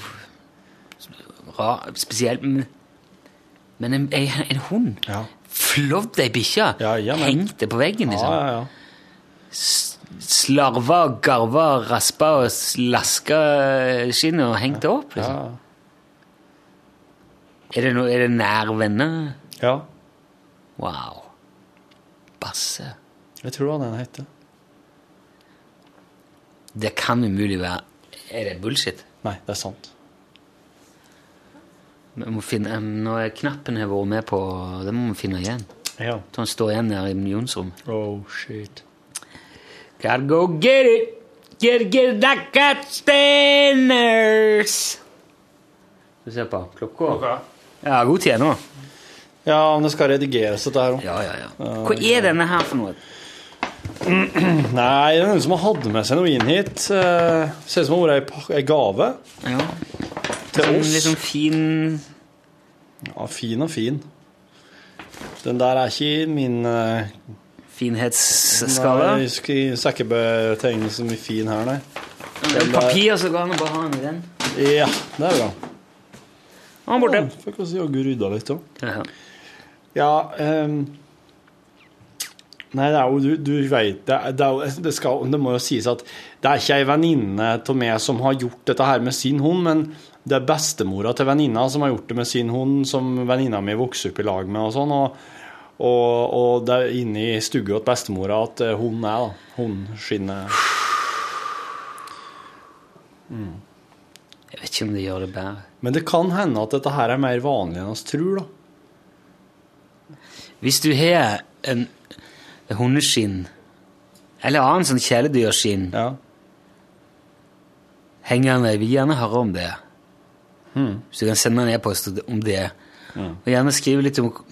Speaker 3: rar, spesielt Men, men en, en, en hund Flådd ei bikkje. Hengte på veggen, liksom.
Speaker 6: Ja, ja, ja.
Speaker 3: S- Slarva og garva og raspa og slaska skinnet og hengt det opp, liksom. Er det, no, er det nær venner?
Speaker 6: Ja.
Speaker 3: Wow. Basse.
Speaker 6: Jeg tror hva den heter.
Speaker 3: Det kan umulig være Er det bullshit?
Speaker 6: Nei, det er sant.
Speaker 3: Vi må finne, nå er knappen jeg har vært med på, det må vi finne igjen.
Speaker 6: Ja.
Speaker 3: Så han står igjen der i Jons rom.
Speaker 6: Oh, shit.
Speaker 3: Gotta go get it! Get it, get it, I got standards! Skal vi se på klokka? Ja, god tid nå.
Speaker 6: Ja, men det skal redigeres, dette her òg.
Speaker 3: Ja, ja, ja. Hva er denne her for noe?
Speaker 6: Nei, det er noen som har hatt med seg noe inn hit. Eh, Ser ut som det har vært ei pak- ei gave
Speaker 3: Ja.
Speaker 6: til
Speaker 3: En
Speaker 6: oss.
Speaker 3: litt sånn fin
Speaker 6: Ja, fin og fin. Den der er ikke min eh,
Speaker 3: finhetsskala.
Speaker 6: Nei, sk- i sekkebetegnelsen i fin her, nei.
Speaker 3: Det er jo papir, så går det an å bare ha den i den.
Speaker 6: Ja, der er bra.
Speaker 3: Han borte.
Speaker 6: Ja, fikk oss jaggu rydda litt òg.
Speaker 3: Ja.
Speaker 6: Ja ehm, Nei, det er jo Du, du veit det, er- det, er jo- det, skal- det må jo sies at det er ikke ei venninne av meg som har gjort dette her med sin hund, men det er bestemora til venninna som har gjort det med sin hund, som venninna mi vokste opp i lag med og sånn. og og, og det er inne i stua til bestemora at eh, hunden er, da. Hundeskinnet mm.
Speaker 3: Jeg vet ikke om det gjør det bedre.
Speaker 6: Men det kan hende at dette her er mer vanlig enn oss tror, da.
Speaker 3: Hvis du har en hundeskinn, eller annen sånn kjæledyrskinn, hengende, jeg vil gjerne høre om det. Så du kan sende en e-post om det. Og gjerne skrive litt om k-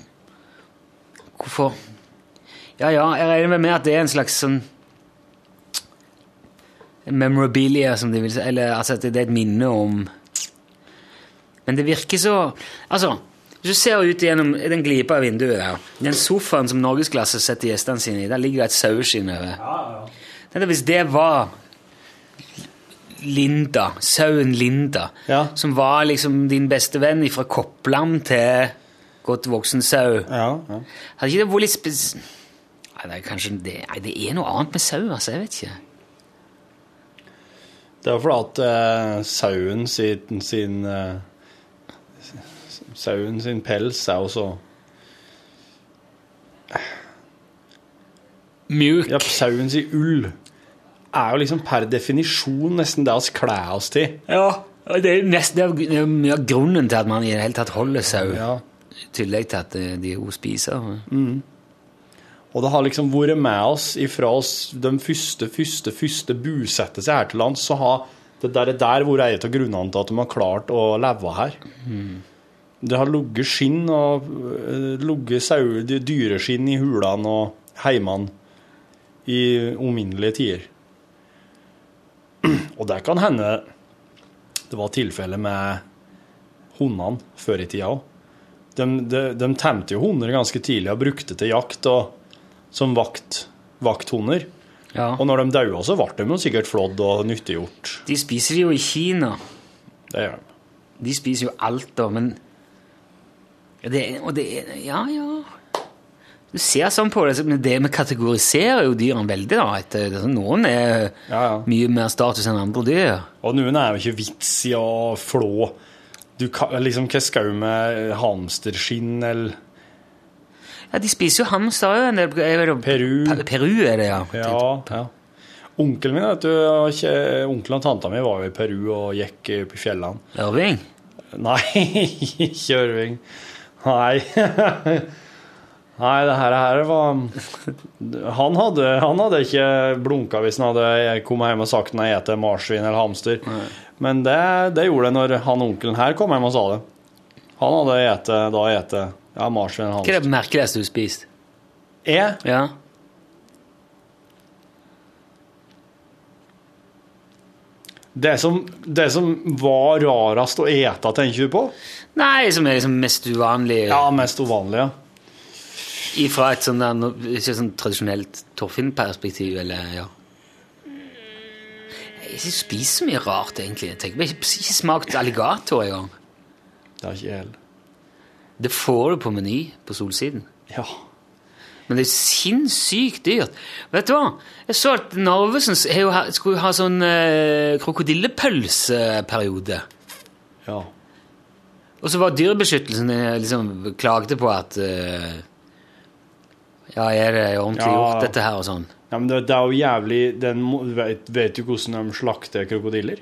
Speaker 3: hvorfor. Ja, ja, jeg regner med at det er en slags sånn memorabilia, som de vil si. Eller altså, at det er et minne om Men det virker så Altså, hvis du ser ut gjennom den glipa av vinduet der, den sofaen som norgesklasse setter gjestene sine i, der ligger det et saueskinn over. Tenk deg hvis det var Linda, sauen Linda, som var liksom din beste venn fra Koppland til godt voksen sau. Hadde ikke det vært litt spes... Nei, det er kanskje det, nei, det er noe annet med sau, altså. Jeg vet ikke.
Speaker 6: Det er jo fordi at eh, sauen sin, sin eh, s- Sauen sin pels er jo så
Speaker 3: Mjuk.
Speaker 6: Ja, sauen sin ull er jo liksom per definisjon nesten det vi kler oss til.
Speaker 3: Ja, og det er jo nesten det er jo- det er jo mye av grunnen til at man i det hele tatt holder sau. I tillegg til at eh, de er gode spisere.
Speaker 6: Og det har liksom vært med oss ifra oss de første, første, første bosettelse her til lands, så har det der, der vært en av grunnene til at de har klart å leve her. Det har ligget skinn og eh, ligget sau- dyreskinn i hulene og heimene i ominnelige tider. Og det kan hende det var tilfellet med hundene før i tida òg. De, de, de temte jo hunder ganske tidlig og brukte til jakt og som vakt, vakthunder. Og når de daua, så ble de jo sikkert flådd og nyttiggjort.
Speaker 3: De spiser de jo i Kina.
Speaker 6: Det gjør de.
Speaker 3: De spiser jo alt, da, men Ja, det, er- Og det er Ja, ja. Du ser sånn på det, så- men det vi kategoriserer jo dyrene veldig, da. Etter, det er sånn, noen er mye mer status enn andre dyr.
Speaker 6: Og noen er jo ikke vits i å flå. Du kan, liksom, Hva skal du med hamsterskinn eller
Speaker 3: Ja, De spiser jo hamster òg en del. Er det,
Speaker 6: Peru.
Speaker 3: Peru er det, ja.
Speaker 6: Ja, ja. Onkelen min, vet du, og ikke- onkelen og tanta mi var jo i Peru og gikk opp i fjellene.
Speaker 3: Ørving?
Speaker 6: Nei, ikke Ørving. Nei. Nei, det her, her var han hadde, han hadde ikke blunka hvis han hadde kommet hjem og sagt nei til marsvin eller hamster. Men det, det gjorde det når han onkelen her kom hjem og sa det. Han hadde ete, da ete ja, marsvin eller
Speaker 3: Hva er
Speaker 6: hamster.
Speaker 3: det merkeligste du har spist?
Speaker 6: Jeg?
Speaker 3: Ja.
Speaker 6: Det som, det som var rarest å ete, tenker du på?
Speaker 3: Nei, som er liksom mest uvanlig
Speaker 6: Ja, mest uvanlig, ja.
Speaker 3: Ifra et sånn der no- ikke sånn tradisjonelt Torfinn-perspektiv, eller ja.
Speaker 6: Mm.
Speaker 3: Jeg har ikke spist så mye rart, egentlig. Jeg tenker, jeg har ikke, ikke smakt alligator engang.
Speaker 6: Det har ikke jeg heller.
Speaker 3: Det får du på Meny på Solsiden.
Speaker 6: Ja.
Speaker 3: Men det er sinnssykt dyrt. Vet du hva? Jeg så at Narvesen s- har jo ha- skulle ha sånn eh, krokodillepølseperiode.
Speaker 6: Ja.
Speaker 3: Og så var Dyrebeskyttelsen eh, liksom klagde på at eh, Ja, er det ordentlig
Speaker 6: Ja.
Speaker 3: gjort, dette her, og sånn?
Speaker 6: Ja, men det, det er jo jævlig den, må- vet, vet du hvordan de slakter krokodiller?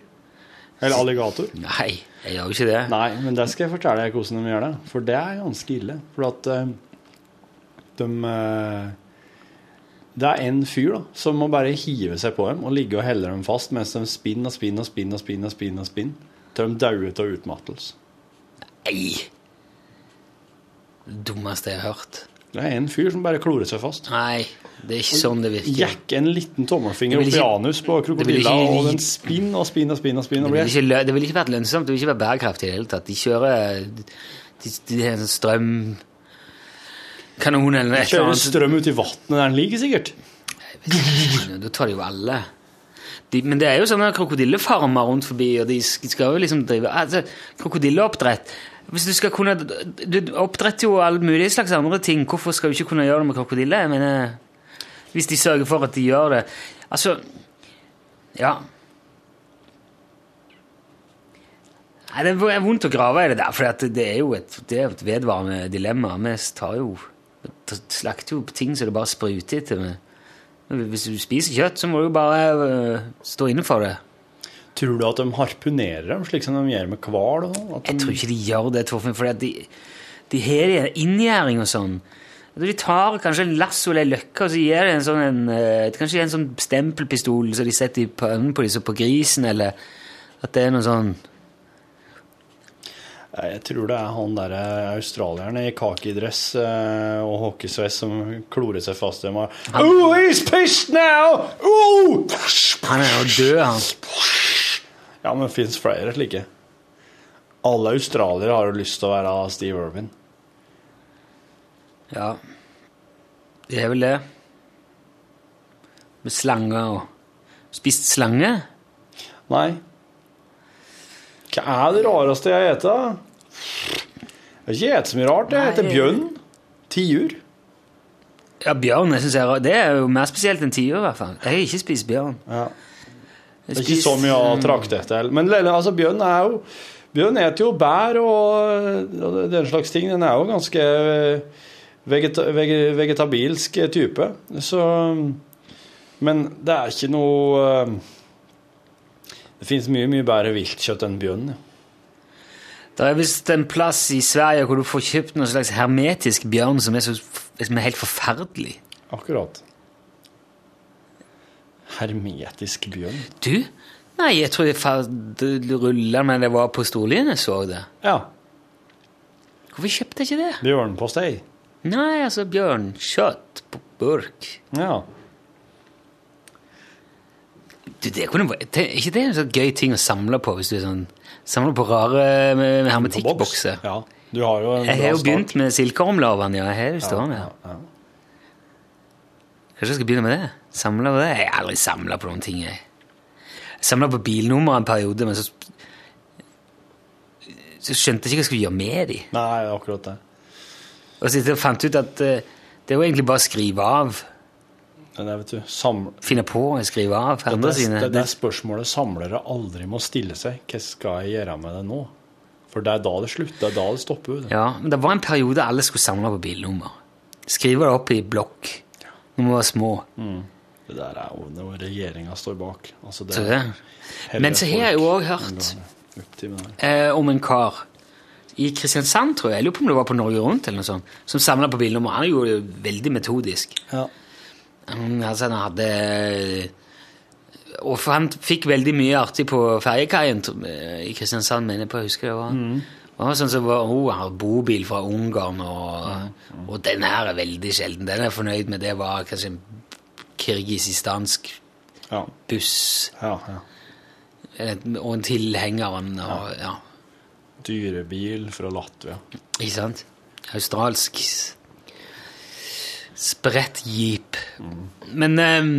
Speaker 6: Eller alligator?
Speaker 3: Nei, jeg gjør jo ikke det.
Speaker 6: Nei, men det skal jeg fortelle deg hvordan de gjør det. For det er ganske ille. For at eh, de eh, Det er en fyr da, som må bare hive seg på dem og ligge og helle dem fast mens de spinner og spinner og spinner og spinner, og spinner, og spinner til de dauer av utmattelse.
Speaker 3: Nei! Dummeste jeg har hørt.
Speaker 6: Det er en fyr som bare klorer seg fast.
Speaker 3: Nei, det er ikke sånn det virker.
Speaker 6: Jekk en liten tommelfinger
Speaker 3: Det vil
Speaker 6: opp i
Speaker 3: ikke-
Speaker 6: anus
Speaker 3: det
Speaker 6: på
Speaker 3: vil
Speaker 6: krokodilla,
Speaker 3: ikke-
Speaker 6: og den spinner og spinner og spinner. og spinner
Speaker 3: Det
Speaker 6: og
Speaker 3: ville
Speaker 6: blir
Speaker 3: ikke, lø- det ville ikke vært lønnsomt, det ville ikke vært bærekraftig i det hele tatt. De kjører de, de har en sånn strøm kanon eller et eller
Speaker 6: Kjører
Speaker 3: annet.
Speaker 6: strøm ut i vannet der den ligger, sikkert.
Speaker 3: Da tar de jo alle. De, men det er jo sånn sånne krokodillefarmer rundt forbi, og de sk- skal jo liksom drive altså, Krokodilleoppdrett Hvis du skal kunne Du oppdretter jo all mulig slags andre ting. Hvorfor skal du ikke kunne gjøre det med krokodiller? Jeg mener, hvis de sørger for at de gjør det. Altså Ja. Nei, det er vondt å grave i det der, for det er jo et, det er jo et vedvarende dilemma. Vi tar jo slakter jo ting så det bare spruter etter. med. Hvis du spiser kjøtt, så må du bare øh, stå inne for det.
Speaker 6: Tror du at de harpunerer dem, slik som de gjør med hval? sånn?
Speaker 3: Jeg tror ikke de gjør det, Torfinn, fordi at de, de har en inngjæring og sånn. De tar kanskje en lasso eller en løkke, og så gir de en sånn, en, øh, kanskje en sånn stempelpistol som de setter i pønnen på, de, så på grisen, eller at det er noe sånn
Speaker 6: Nei, Jeg tror det er han der eh, australieren i kakidress eh, og hockeysveis som klorer seg fast i meg. Oh, he's pissed now! Oh!
Speaker 3: Han er jo død, han.
Speaker 6: Ja, men det fins flere slike. Alle australiere har jo lyst til å være Steve Irwin.
Speaker 3: Ja. Det er vel det. Med slanger og Spist slange?
Speaker 6: Nei. Hva er det rareste jeg heter? Jeg har ikke spist så mye rart. Jeg heter
Speaker 3: Nei.
Speaker 6: bjørn. Tiur.
Speaker 3: Ja, bjørn jeg synes jeg, er rar. det er jo mer spesielt enn tiur, i hvert fall. Jeg har ikke spist bjørn. Jeg
Speaker 6: Det er ikke så
Speaker 3: spiser-
Speaker 6: mye å trakte etter. Men lille, altså, bjørn er jo Bjørn eter jo bær og, og den slags ting. Den er jo ganske vegeta, vege- vegetabilsk type. Så Men det er ikke noe eh, Det fins mye, mye bedre viltkjøtt enn bjørn. ja.
Speaker 3: Det er visst en plass i Sverige hvor du får kjøpt noen slags hermetisk bjørn som er, så, som er helt forferdelig.
Speaker 6: Akkurat. Hermetisk bjørn.
Speaker 3: Du? Nei, jeg tror jeg ferd- rullet men det var på Storlien jeg så det.
Speaker 6: Ja.
Speaker 3: Hvorfor kjøpte jeg ikke det?
Speaker 6: Bjørnpostei.
Speaker 3: Nei, altså bjørnkjøtt på burk.
Speaker 6: Ja.
Speaker 3: Du, det kunne vært Er ikke det en sånn gøy ting å samle på hvis du er sånn Samler på rare eh, hermetikkbokser?
Speaker 6: Ja. Du har jo en
Speaker 3: Jeg har
Speaker 6: Sånn bra
Speaker 3: jo
Speaker 6: start.
Speaker 3: begynt med silkeormlarven, ja. Jeg har det stående.
Speaker 6: Ja,
Speaker 3: ja. Kanskje jeg skal begynne med det? Samle på det? Jeg har aldri samla på noen ting, jeg. Jeg samla på bilnummer en periode, men så Så skjønte jeg ikke hva jeg skulle gjøre med de.
Speaker 6: Nei, akkurat det.
Speaker 3: Og så etter fant jeg ut at eh, det er jo egentlig bare å skrive av.
Speaker 6: Det der, vet du. Samle
Speaker 3: Finne på å skrive av
Speaker 6: Det
Speaker 3: andre
Speaker 6: er
Speaker 3: sine.
Speaker 6: det, er spørsmålet samlere aldri må stille seg. Hva skal jeg gjøre med det nå? For det er da det slutter. Det er da det stopper. Det.
Speaker 3: Ja, men det var en periode alle skulle samle på bilnummer. Skrive det opp i blokk når vi var små.
Speaker 6: Mm. det der er jo noe regjeringa står bak. Altså, det
Speaker 3: Så det.
Speaker 6: Hele
Speaker 3: Men så har jeg jo
Speaker 6: folk
Speaker 3: også hørt
Speaker 6: opp til med det.
Speaker 3: eh, om en kar i Kristiansand, tror jeg. Jeg lurer på om det var på Norge Rundt eller noe sånt. Som samla på bilnummer. Han gjorde det veldig metodisk.
Speaker 6: Ja.
Speaker 3: Han, altså, han hadde eh, Og for han fikk veldig mye artig på ferjekaien tro- eh, i Kristiansand, mener jeg på. Jeg husker det var. Og han var sånn som var, oh, han har bobil fra Ungarn, og, og den her er veldig sjelden. Den er jeg fornøyd med. Det var kanskje en kirgisistansk
Speaker 6: Ja.
Speaker 3: buss.
Speaker 6: Ja, ja.
Speaker 3: eh, Og en tilhenger. og- Og, ja.
Speaker 6: Dyrebil fra Latvia.
Speaker 3: Ikke sant? Australsk s- spredt jeep. Men ehm,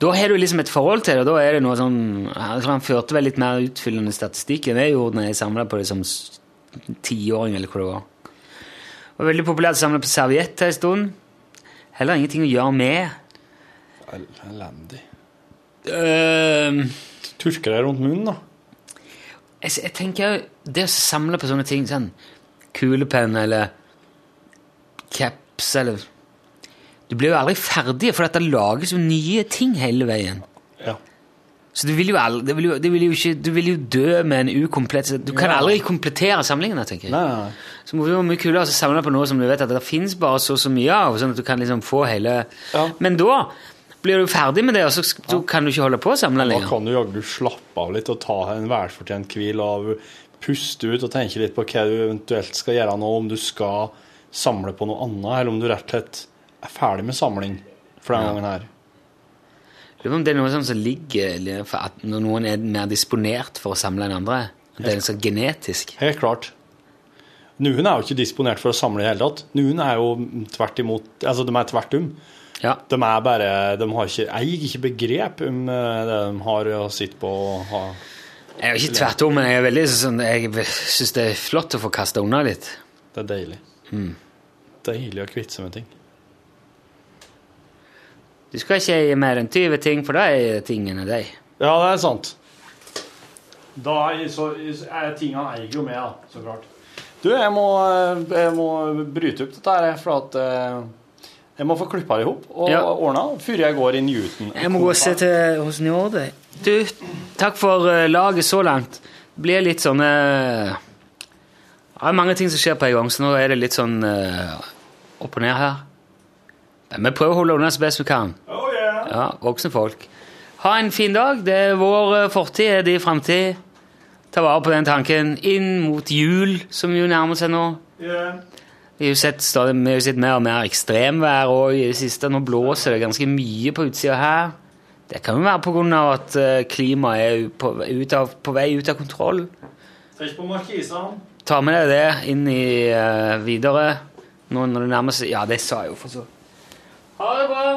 Speaker 3: da har du liksom et forhold til det. og Da er det noe sånn Jeg tror han førte vel litt mer utfyllende statistikk enn jeg gjorde når jeg samla på det som s- tiåring, eller hva det var. Det var veldig populært å samle på serviett en stund. Heller ingenting å gjøre med.
Speaker 6: El- Elendig.
Speaker 3: Ehm,
Speaker 6: Tørker deg rundt munnen, da.
Speaker 3: jeg, s- jeg tenker jo, det å samle på sånne ting, sånn kulepenn eller caps eller Du blir jo aldri ferdig, for det lages jo nye ting hele veien.
Speaker 6: Ja.
Speaker 3: Så du vil jo, aldri, du vil jo, du vil jo, ikke, du vil jo dø med en ukomplett Du kan
Speaker 6: Ja.
Speaker 3: aldri komplette samlingen, tenker jeg.
Speaker 6: Nei, nei, nei.
Speaker 3: Så må det være mye kulere å samle på noe som du vet at det finnes bare så og så mye av, sånn at du kan liksom få hele Men da blir du ferdig med det, og så sk- da kan du ikke holde på å samle
Speaker 6: Da
Speaker 3: lenger.
Speaker 6: kan du jaggu slappe av litt og ta en velfortjent hvil og puste ut og tenke litt på hva du eventuelt skal gjøre nå, om du skal samle på noe annet, eller om du rett og slett er ferdig med samling for denne
Speaker 3: Ja.
Speaker 6: gangen her.
Speaker 3: Lurer på om det er noe sånn som ligger eller for at når noen er mer disponert for å samle enn andre. At Det er sånn genetisk.
Speaker 6: Helt klart. Nuen er jo ikke disponert for å samle i det hele tatt. Nuen er jo tvert imot Altså, de er tvertum. De er bare De har ikke eier ikke begrep om eh, det de har å sitte på og ha
Speaker 3: Jeg er jo ikke tvert om, men jeg er veldig sånn Jeg syns det er flott å få kasta unna litt.
Speaker 6: Det er deilig. Deilig å kvitte seg med ting.
Speaker 3: Du skal ikke gi mer enn 20 ting, for da er tingene deg.
Speaker 6: Ja, det er sant. Da er, så, er tinga eier jo med, da, så klart. Du, jeg må, jeg må bryte opp dette her, for at eh, jeg må få klippa det i hop og
Speaker 3: Ja.
Speaker 6: ordna før jeg går i Newton.
Speaker 3: Jeg må gå og se til hos Njorde. Du, takk for eh, laget så langt. Det blir litt sånn eh, Det er mange ting som skjer på en gang, så nå er det litt sånn eh, opp og ned her. Men vi prøver å holde unna så best vi kan. Ja, voksne folk. Ha en fin dag. Det er vår eh, fortid, er din framtid. Ta vare på den tanken. Inn mot jul, som jo nærmer seg nå. Vi har jo sett, stadig, vi har jo sett mer og mer ekstremvær òg i det siste. Nå blåser det ganske mye på utsida her. Det kan jo være pga. at eh, klimaet er jo på, ut av, på vei ut av kontroll.
Speaker 6: Tenk på markisene.
Speaker 3: Ta med deg det inn i eh, videre. Nå når det nærmer seg Ja, det sa jeg jo, for så Ha det bra!